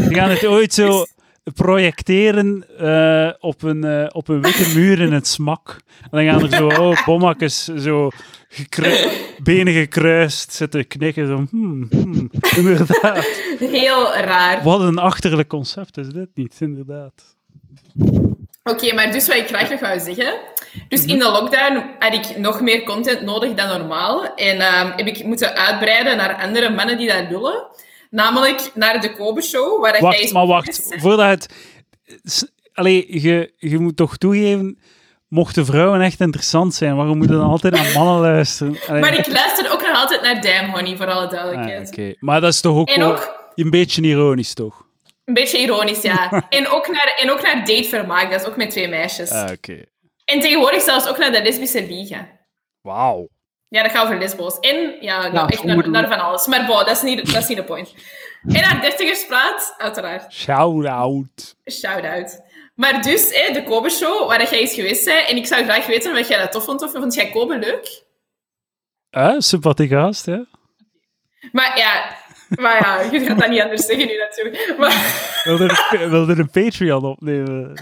S3: We gaan het ooit zo projecteren eh, op, een, eh, op een witte muur in het smak. En dan gaan er zo oh, bommakjes zo gekru- benen gekruist zitten knikken. Zo, hmm, hmm, inderdaad.
S2: Heel raar.
S3: Wat een achterlijk concept is dit niet, inderdaad.
S2: Oké, maar dus wat ik graag nog wou zeggen. Dus in de lockdown had ik nog meer content nodig dan normaal. En ehm, heb ik moeten uitbreiden naar andere mannen die dat willen. Namelijk naar de Kobe Show. Waar dat jij
S3: Wacht,
S2: eens-
S3: maar wacht. Voordat het... s- Allee, je, je moet toch toegeven... Mochten vrouwen echt interessant zijn, waarom moeten dan altijd naar mannen
S2: [LAUGHS]
S3: luisteren? Allee,
S2: Maar ik luister ook nog altijd naar Damn Honey, voor alle
S3: ah,
S2: duidelijkheid.
S3: oké. Maar dat is toch ook,
S2: En
S3: wel
S2: ook-
S3: een beetje ironisch, toch?
S2: Een beetje ironisch, ja. en, ook naar, en ook naar Datevermaak, dat is ook met twee meisjes.
S3: Ah, oké.
S2: En tegenwoordig zelfs ook naar de lesbische liga.
S3: Wauw.
S2: Ja, dat gaat over lesbos. En ja, nou,
S1: Ja,
S2: echt naar,
S1: vermoedelijk.
S2: naar van alles. Maar boah, dat is niet, dat is niet de point. En haar dertigerspraat, uiteraard.
S3: Shout-out.
S2: Shout-out. Maar dus, hè, de Kobe Show, waar dat jij is geweest bent. En ik zou graag weten wat jij dat tof vond. Of vond jij Kobe leuk?
S3: Eh, sympathiek gast, hè?
S2: Maar ja, maar ja [LAUGHS] je gaat dat niet anders zeggen nu natuurlijk. Maar, [LAUGHS]
S3: Wilde een, wilde een Patreon opnemen.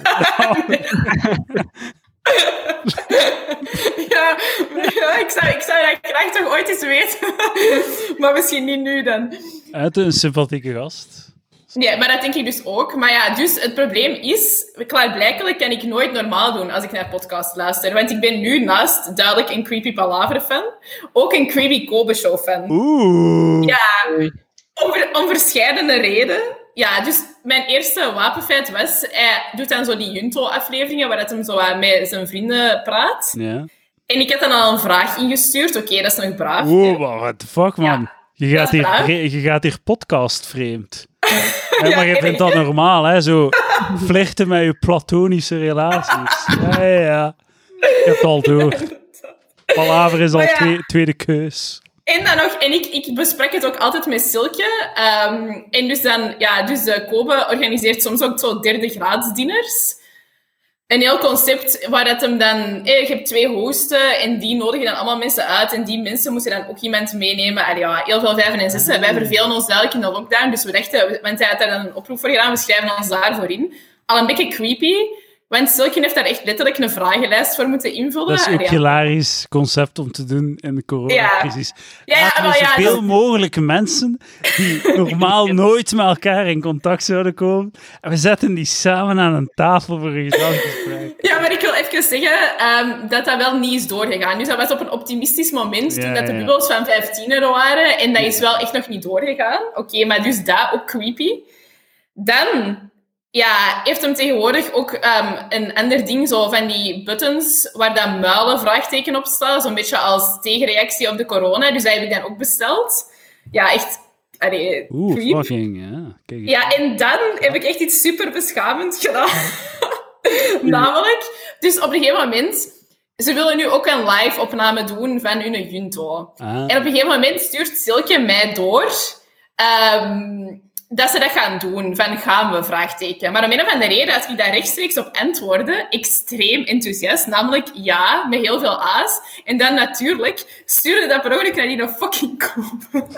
S2: ja, [LAUGHS] ja, ik, zou, ik zou dat graag toch ooit eens weten. [LAUGHS] maar misschien niet nu dan.
S3: Uit een sympathieke gast.
S2: Nee, maar dat denk ik dus ook. Maar ja, dus het probleem is, klaarblijkelijk kan ik nooit normaal doen als ik naar podcasts luister. Want ik ben nu naast duidelijk een Creepy Palaver fan, ook een Creepy Kobe Show fan.
S3: Oeh.
S2: Ja,
S1: Oei.
S2: om, ver- om verschillende redenen. Ja, dus mijn eerste wapenfeit was, hij doet dan zo die Junto-afleveringen waar dat hem zo wat met zijn vrienden praat.
S3: Ja.
S2: En ik had dan al een vraag ingestuurd. Oké, dat is nog braaf.
S3: Wow, maar what the fuck, man. Je, gaat
S2: Dat is
S3: hier,
S2: waar.
S3: vre- je gaat hier podcast
S2: [LAUGHS]
S3: vreemd. Hè,
S2: Ja,
S3: maar je
S2: ik-
S3: vindt dat normaal,
S2: [LAUGHS]
S3: hè? Zo flirten met je platonische relaties. Ja, ja, ja. Je hebt het al door. Palaver is al
S2: Maar ja.
S3: twee- tweede keus.
S2: En dan nog, en ik, ik besprak het ook altijd met Silke. Ehm, en dus dan, ja, dus eh, Kobe organiseert soms ook zo derde graads dinners. een heel concept waar dat hem dan... eh, je hebt twee hosten en die nodig je dan allemaal mensen uit. En die mensen moeten dan ook iemand meenemen. En ja, heel veel vijven en zessen. Wij vervelen ons duidelijk in de lockdown. Dus we dachten, want hij had daar een oproep voor gedaan. We schrijven ons daarvoor in. Al een beetje creepy. Want Silkin heeft daar echt letterlijk een vragenlijst voor moeten invullen.
S3: Dat is ook
S2: Allee,
S3: een hilarisch concept om te doen in de coronacrisis.
S2: Ja, ja,
S3: Laten we
S2: wel, ja,
S3: zoveel
S2: dat-
S3: mogelijk mensen
S2: [LAUGHS]
S3: die normaal nooit met elkaar in contact zouden komen, en we zetten die samen aan een tafel voor een gedragsgesprek.
S2: [LAUGHS] Ja, maar ik wil even zeggen ehm, dat dat wel niet is doorgegaan. Dus dat was op een optimistisch moment,
S3: Ja,
S2: toen dat de
S3: ja, ja.
S2: bubbels van 15 euro waren. En dat is wel echt nog niet doorgegaan. Oké, maar dus dat ook creepy. Dan ja, heeft hem tegenwoordig ook ehm, een ander ding, zo van die buttons waar dat muilen vraagteken op staan. Zo'n beetje als tegenreactie op de corona. Dus dat heb ik dan ook besteld. Ja, echt... Allee,
S3: Oeh,
S2: creep.
S3: fucking, ja. Kijk, eens.
S2: Ja, en dan heb ik echt iets super beschamend gedaan. [LAUGHS] Namelijk, dus op een gegeven moment, ze willen nu ook een live opname doen van hun junto.
S3: Ah,
S2: En op een gegeven moment stuurt Silke mij door ehm, dat ze dat gaan doen, van gaan we, vraagteken. Maar om een of andere reden had ik daar rechtstreeks op antwoorden, extreem enthousiast, namelijk ja, met heel veel a's. En dan natuurlijk stuurde dat per ongeluk naar die fucking koop.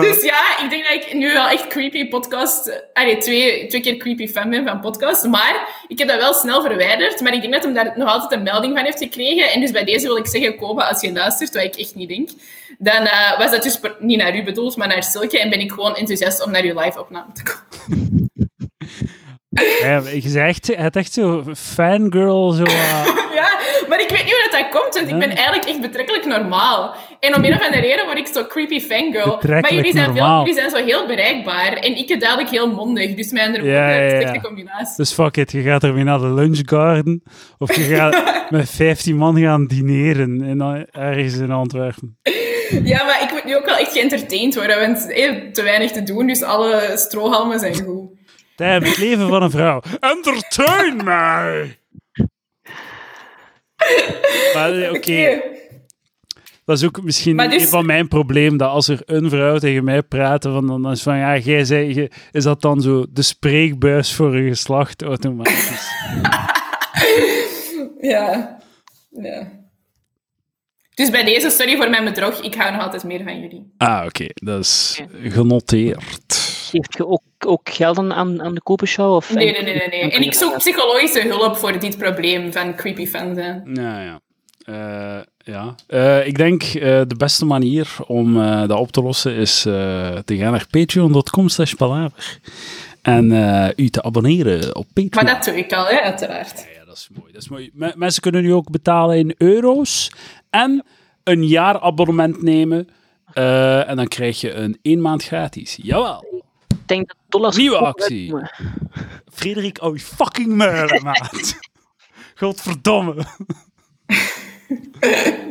S2: Dus ja, ik denk dat ik nu wel echt creepy podcast... eh, Allee, twee, twee keer creepy fan ben van podcast. Maar ik heb dat wel snel verwijderd. Maar ik denk dat hem daar nog altijd een melding van heeft gekregen. En dus bij deze wil ik zeggen, Koba, als je luistert, wat ik echt niet denk, dan eh, was dat dus per- niet naar u bedoeld, maar naar Silke. En ben ik gewoon enthousiast om naar uw live-opname te komen. [LAUGHS]
S3: ja, je zegt, het echt zo fangirl, zo...
S2: [LAUGHS]
S3: ah.
S2: ja, maar ik weet niet hoe dat, dat komt, want ik ben
S3: Ja.
S2: eigenlijk echt betrekkelijk normaal. En om een of andere reden word ik zo creepy fangirl. Maar
S3: Betrekkelijk
S2: jullie zijn, veel,
S3: normaal.
S2: jullie zijn zo heel bereikbaar. En ik duidelijk heel mondig. Dus mijn andere
S3: Ja,
S2: woorden,
S3: ja, ja.
S2: slechte combinatie.
S3: Dus fuck it, je gaat ermee naar de lunchgarden, of je
S2: [LAUGHS]
S3: gaat met 15 man gaan dineren in, eh, ergens in Antwerpen.
S2: Ja, maar ik moet nu ook wel echt geëntertaind worden, want eh, te weinig te doen, dus alle strohalmen zijn goed.
S3: Damn, het leven van een vrouw. Entertain mij! Maar eh, oké, dat is ook misschien
S2: Maar dus-
S3: een van mijn problemen, dat als er een vrouw tegen mij praat, van, dan is van, ja, jij zei, je- is dat dan zo de spreekbuis voor je geslacht automatisch?
S2: Ja. ja. Dus bij deze, sorry voor mijn bedrog, ik hou nog altijd meer van jullie.
S3: ah, oké, dat is genoteerd.
S1: Geeft je ook, ook gelden aan, aan de kopenshow? Of
S2: Nee, nee, nee, nee. nee. En ik zoek psychologische hulp voor dit probleem van creepy fans. hè.
S3: Ja, ja. Eh, ja. Eh, ik denk eh, de beste manier om eh, dat op te lossen is eh, te gaan naar patreon.com slash palaver. En eh, u te abonneren op Patreon.
S2: Maar dat doe ik al, hè, uiteraard.
S3: Ja, dat is mooi. Dat is mooi. Me- mensen kunnen nu ook betalen in euro's en een jaar abonnement nemen. Eh, en dan krijg je een één maand gratis. Jawel.
S1: Ik denk dat dollars...
S3: Nieuwe
S1: ook
S3: actie.
S1: uitkomen.
S3: Frederik, oh fucking
S2: [LAUGHS]
S3: muilen, maat. Godverdomme.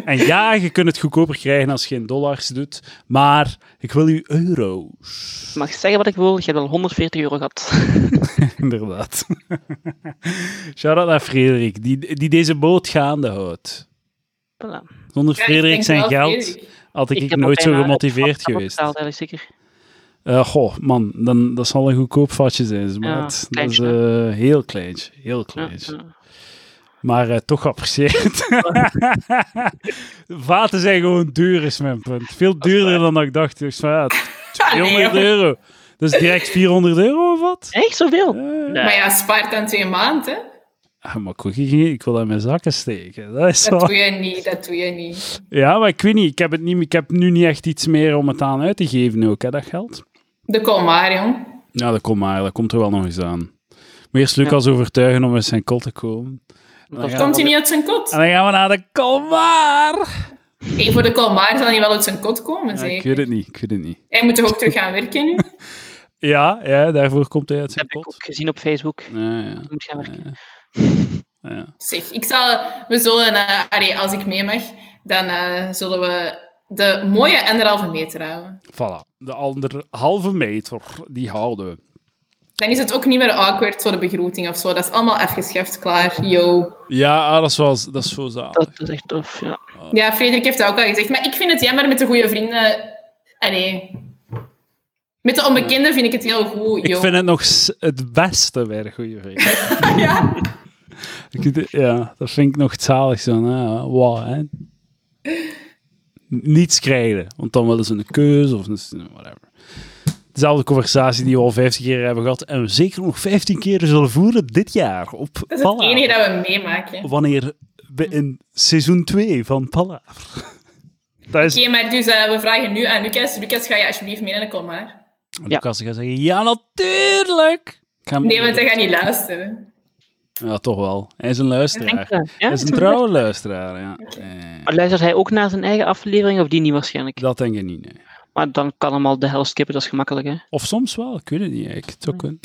S3: en ja, je kunt het goedkoper krijgen als je geen dollars doet, maar ik wil u euro's. [LAUGHS]
S1: Ik mag zeggen wat ik wil, je hebt al 140 euro gehad. [LAUGHS]
S3: Inderdaad. Shout-out naar Frederik, die, die deze boot gaande houdt.
S1: Voilà.
S3: Zonder
S2: Ja, ik
S3: Frederik
S2: denk
S3: zijn
S2: wel,
S3: geld
S2: Frederik.
S3: had ik,
S1: heb
S3: nooit
S1: al
S3: zo
S1: bijna
S3: gemotiveerd
S1: op- op-
S3: geweest.
S1: betaald, eigenlijk zeker.
S3: Eh, goh, man, dan, dat zal een goedkoop vatje zijn, maat. dat is
S1: kleintje.
S3: eh, heel klein, heel
S1: Ja,
S3: klein.
S1: ja.
S3: Maar eh, toch geapprecieerd. Vaten zijn gewoon duur, is mijn punt. Veel duurder dan dat ik dacht. Ik zei, ja,
S2: Ah, nee,
S3: 200
S2: joh.
S3: euro. Dat is direct 400 euro of wat?
S1: Echt zoveel?
S3: Eh,
S2: Maar ja, spaart dan twee maanden. hè.
S3: ah, maar ik, wil- ik wil dat in mijn zakken steken. Dat is
S2: Dat
S3: wel...
S2: doe je niet, dat doe je niet.
S3: Ja, maar ik weet niet ik, heb het niet. ik heb nu niet echt iets meer om het aan uit te geven ook, hè, dat geld.
S2: De Colmar, jong.
S3: Ja, dat komt maar. Dat komt er wel nog eens aan. Moet eerst Lucas overtuigen om uit zijn kot te komen. En dan,
S1: Dat
S3: gaan
S2: Komt hij
S3: we,
S2: niet uit zijn kot?
S3: en dan gaan we naar de Kalmaar.
S2: Hey, voor de Colmar zal hij wel uit zijn kot komen,
S3: Ja, ik
S2: zeker.
S3: weet het niet, ik weet het niet.
S2: Hij moet toch ook terug gaan werken nu?
S3: Ja, ja, daarvoor komt hij uit zijn
S1: heb ik
S3: kot.
S1: ook gezien op Facebook.
S3: Ja, ja.
S1: Je moet gaan werken.
S3: ja.
S2: Zeg, ik zal, we zullen, eh, allee, als ik mee mag, dan eh, zullen we de mooie anderhalve meter houden.
S3: Voilà. De anderhalve meter, die houden we.
S2: Dan is het ook niet meer awkward, zo de begroeting of zo. Dat is allemaal afgeschaft, klaar, yo.
S3: Ja, ah, dat is, wel, dat is zo zalig.
S1: Dat is echt tof, ja.
S3: Oh.
S2: Ja, Frederik heeft dat ook al gezegd. Maar ik vind het jammer met de goede vrienden. Allee, Met de onbekende vind ik het heel goed,
S3: Ik
S2: joh.
S3: vind het nog s- het beste bij de goede vriend.
S2: [LAUGHS] ja.
S3: Ik d- ja, dat vind ik nog het zaligste. aan, hè. Wow, hè. Niets krijgen, want dan willen ze een keuze of een, whatever. Dezelfde conversatie die we al 50 keer hebben gehad en we zeker nog 15 keer zullen voeren dit jaar op
S2: Dat is het
S3: Palaver.
S2: enige dat we meemaken. Oké,
S3: Wanneer we in seizoen 2 van Palaver. [LAUGHS] Dat is...
S2: maar dus eh, we vragen nu aan Lucas. Lucas, ga je alsjeblieft mee naar de Colmar?
S3: En Lucas gaat zeggen, ja natuurlijk! Ik ga hem-
S2: Nee, want hij gaat niet luisteren.
S3: Ja, toch wel. Hij is een luisteraar.
S1: Ja,
S3: Hij is een trouwe luisteraar, ja. Eh,
S1: Maar luistert hij ook naar zijn eigen aflevering of die niet waarschijnlijk?
S3: dat denk ik niet, nee.
S1: Maar dan kan hem al de hel skippen, dat is gemakkelijk hè.
S3: Of soms wel, ik weet het niet. Ik het ook [LAUGHS] een...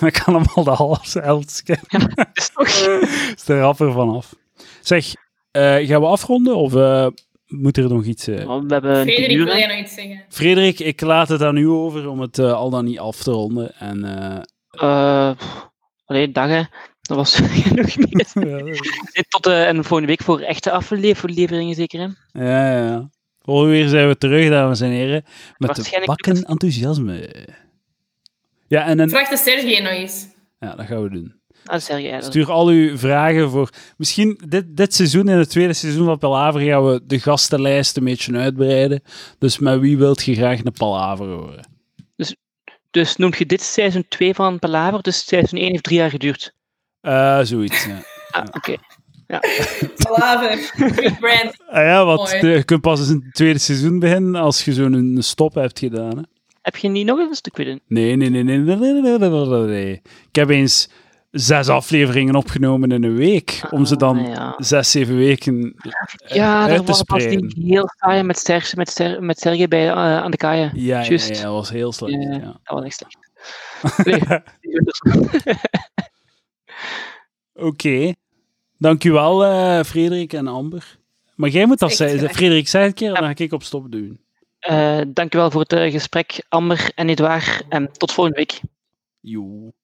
S3: Dan kan hem al de halve helft skippen.
S1: Dat is toch...
S3: [LAUGHS] is er rapper vanaf. Zeg, eh, gaan we afronden of eh, moet er nog iets... eh?
S1: We hebben
S2: Frederik,
S1: drie uur,
S2: wil
S1: hè.
S2: jij nog iets zeggen?
S3: Frederik, ik laat het aan u over om het eh, al dan niet af te ronden. En, eh, [LAUGHS]
S1: Eh, pff, allee, dag hè. Dat was [LAUGHS] genoeg niet. Tot eh, en volgende week voor echte afleveringen zeker hè. Ah,
S3: ja, ja, ja. Volgende weer zijn we terug, dames en heren. Met
S1: Waarschijnlijk
S3: bakken enthousiasme. Ja, en een...
S2: Vraag de Sergej nog eens.
S3: ja, dat gaan we doen.
S1: Dat zeg jij. Dat...
S3: Stuur al uw vragen voor. Misschien dit, dit seizoen, in het tweede seizoen van Palaver, gaan we de gastenlijst een beetje uitbreiden. Dus met wie wilt je graag een Palaver horen?
S1: Dus noemt je dit seizoen 2 van Palaver, dus seizoen 1 heeft drie jaar geduurd.
S3: Eh, zoiets. Ja.
S1: Ah, oké.
S2: Palaver. Big brand.
S3: [LAUGHS] Ah ja, want
S2: Mooi.
S3: de- je kunt pas eens in het tweede seizoen beginnen als je zo'n een stop hebt gedaan. Hè?
S1: Heb je niet nog een stuk willen?
S3: Nee, nee, nee, nee, nee, nee, nee, nee, nee, nee. Ik heb eens zes afleveringen opgenomen in een week. Om ze dan
S1: Ah, ja.
S3: zes, zeven weken.
S1: Ja,
S3: Eh, uit
S1: dat
S3: te
S1: was pas
S3: spreiden.
S1: die heel saai met Serge, met Ser, met Serge bij, eh, aan de kaaien.
S3: Ja, ja, ja,
S1: Juist.
S3: dat was heel slecht.
S1: Ja.
S3: Ja.
S1: Dat was echt
S3: [LAUGHS]
S1: slecht. [LAUGHS] Nee,
S3: Oké. Dankjewel, eh Frederik en Amber. Maar jij moet dat
S2: Echt
S3: zeggen.
S1: eh,
S2: graag.
S3: Frederik, zei het een keer,
S1: Ja.
S3: dan ga ik op stop doen.
S1: Eh, dankjewel voor het eh, gesprek, Amber en Edouard. En tot volgende week.
S3: Joe.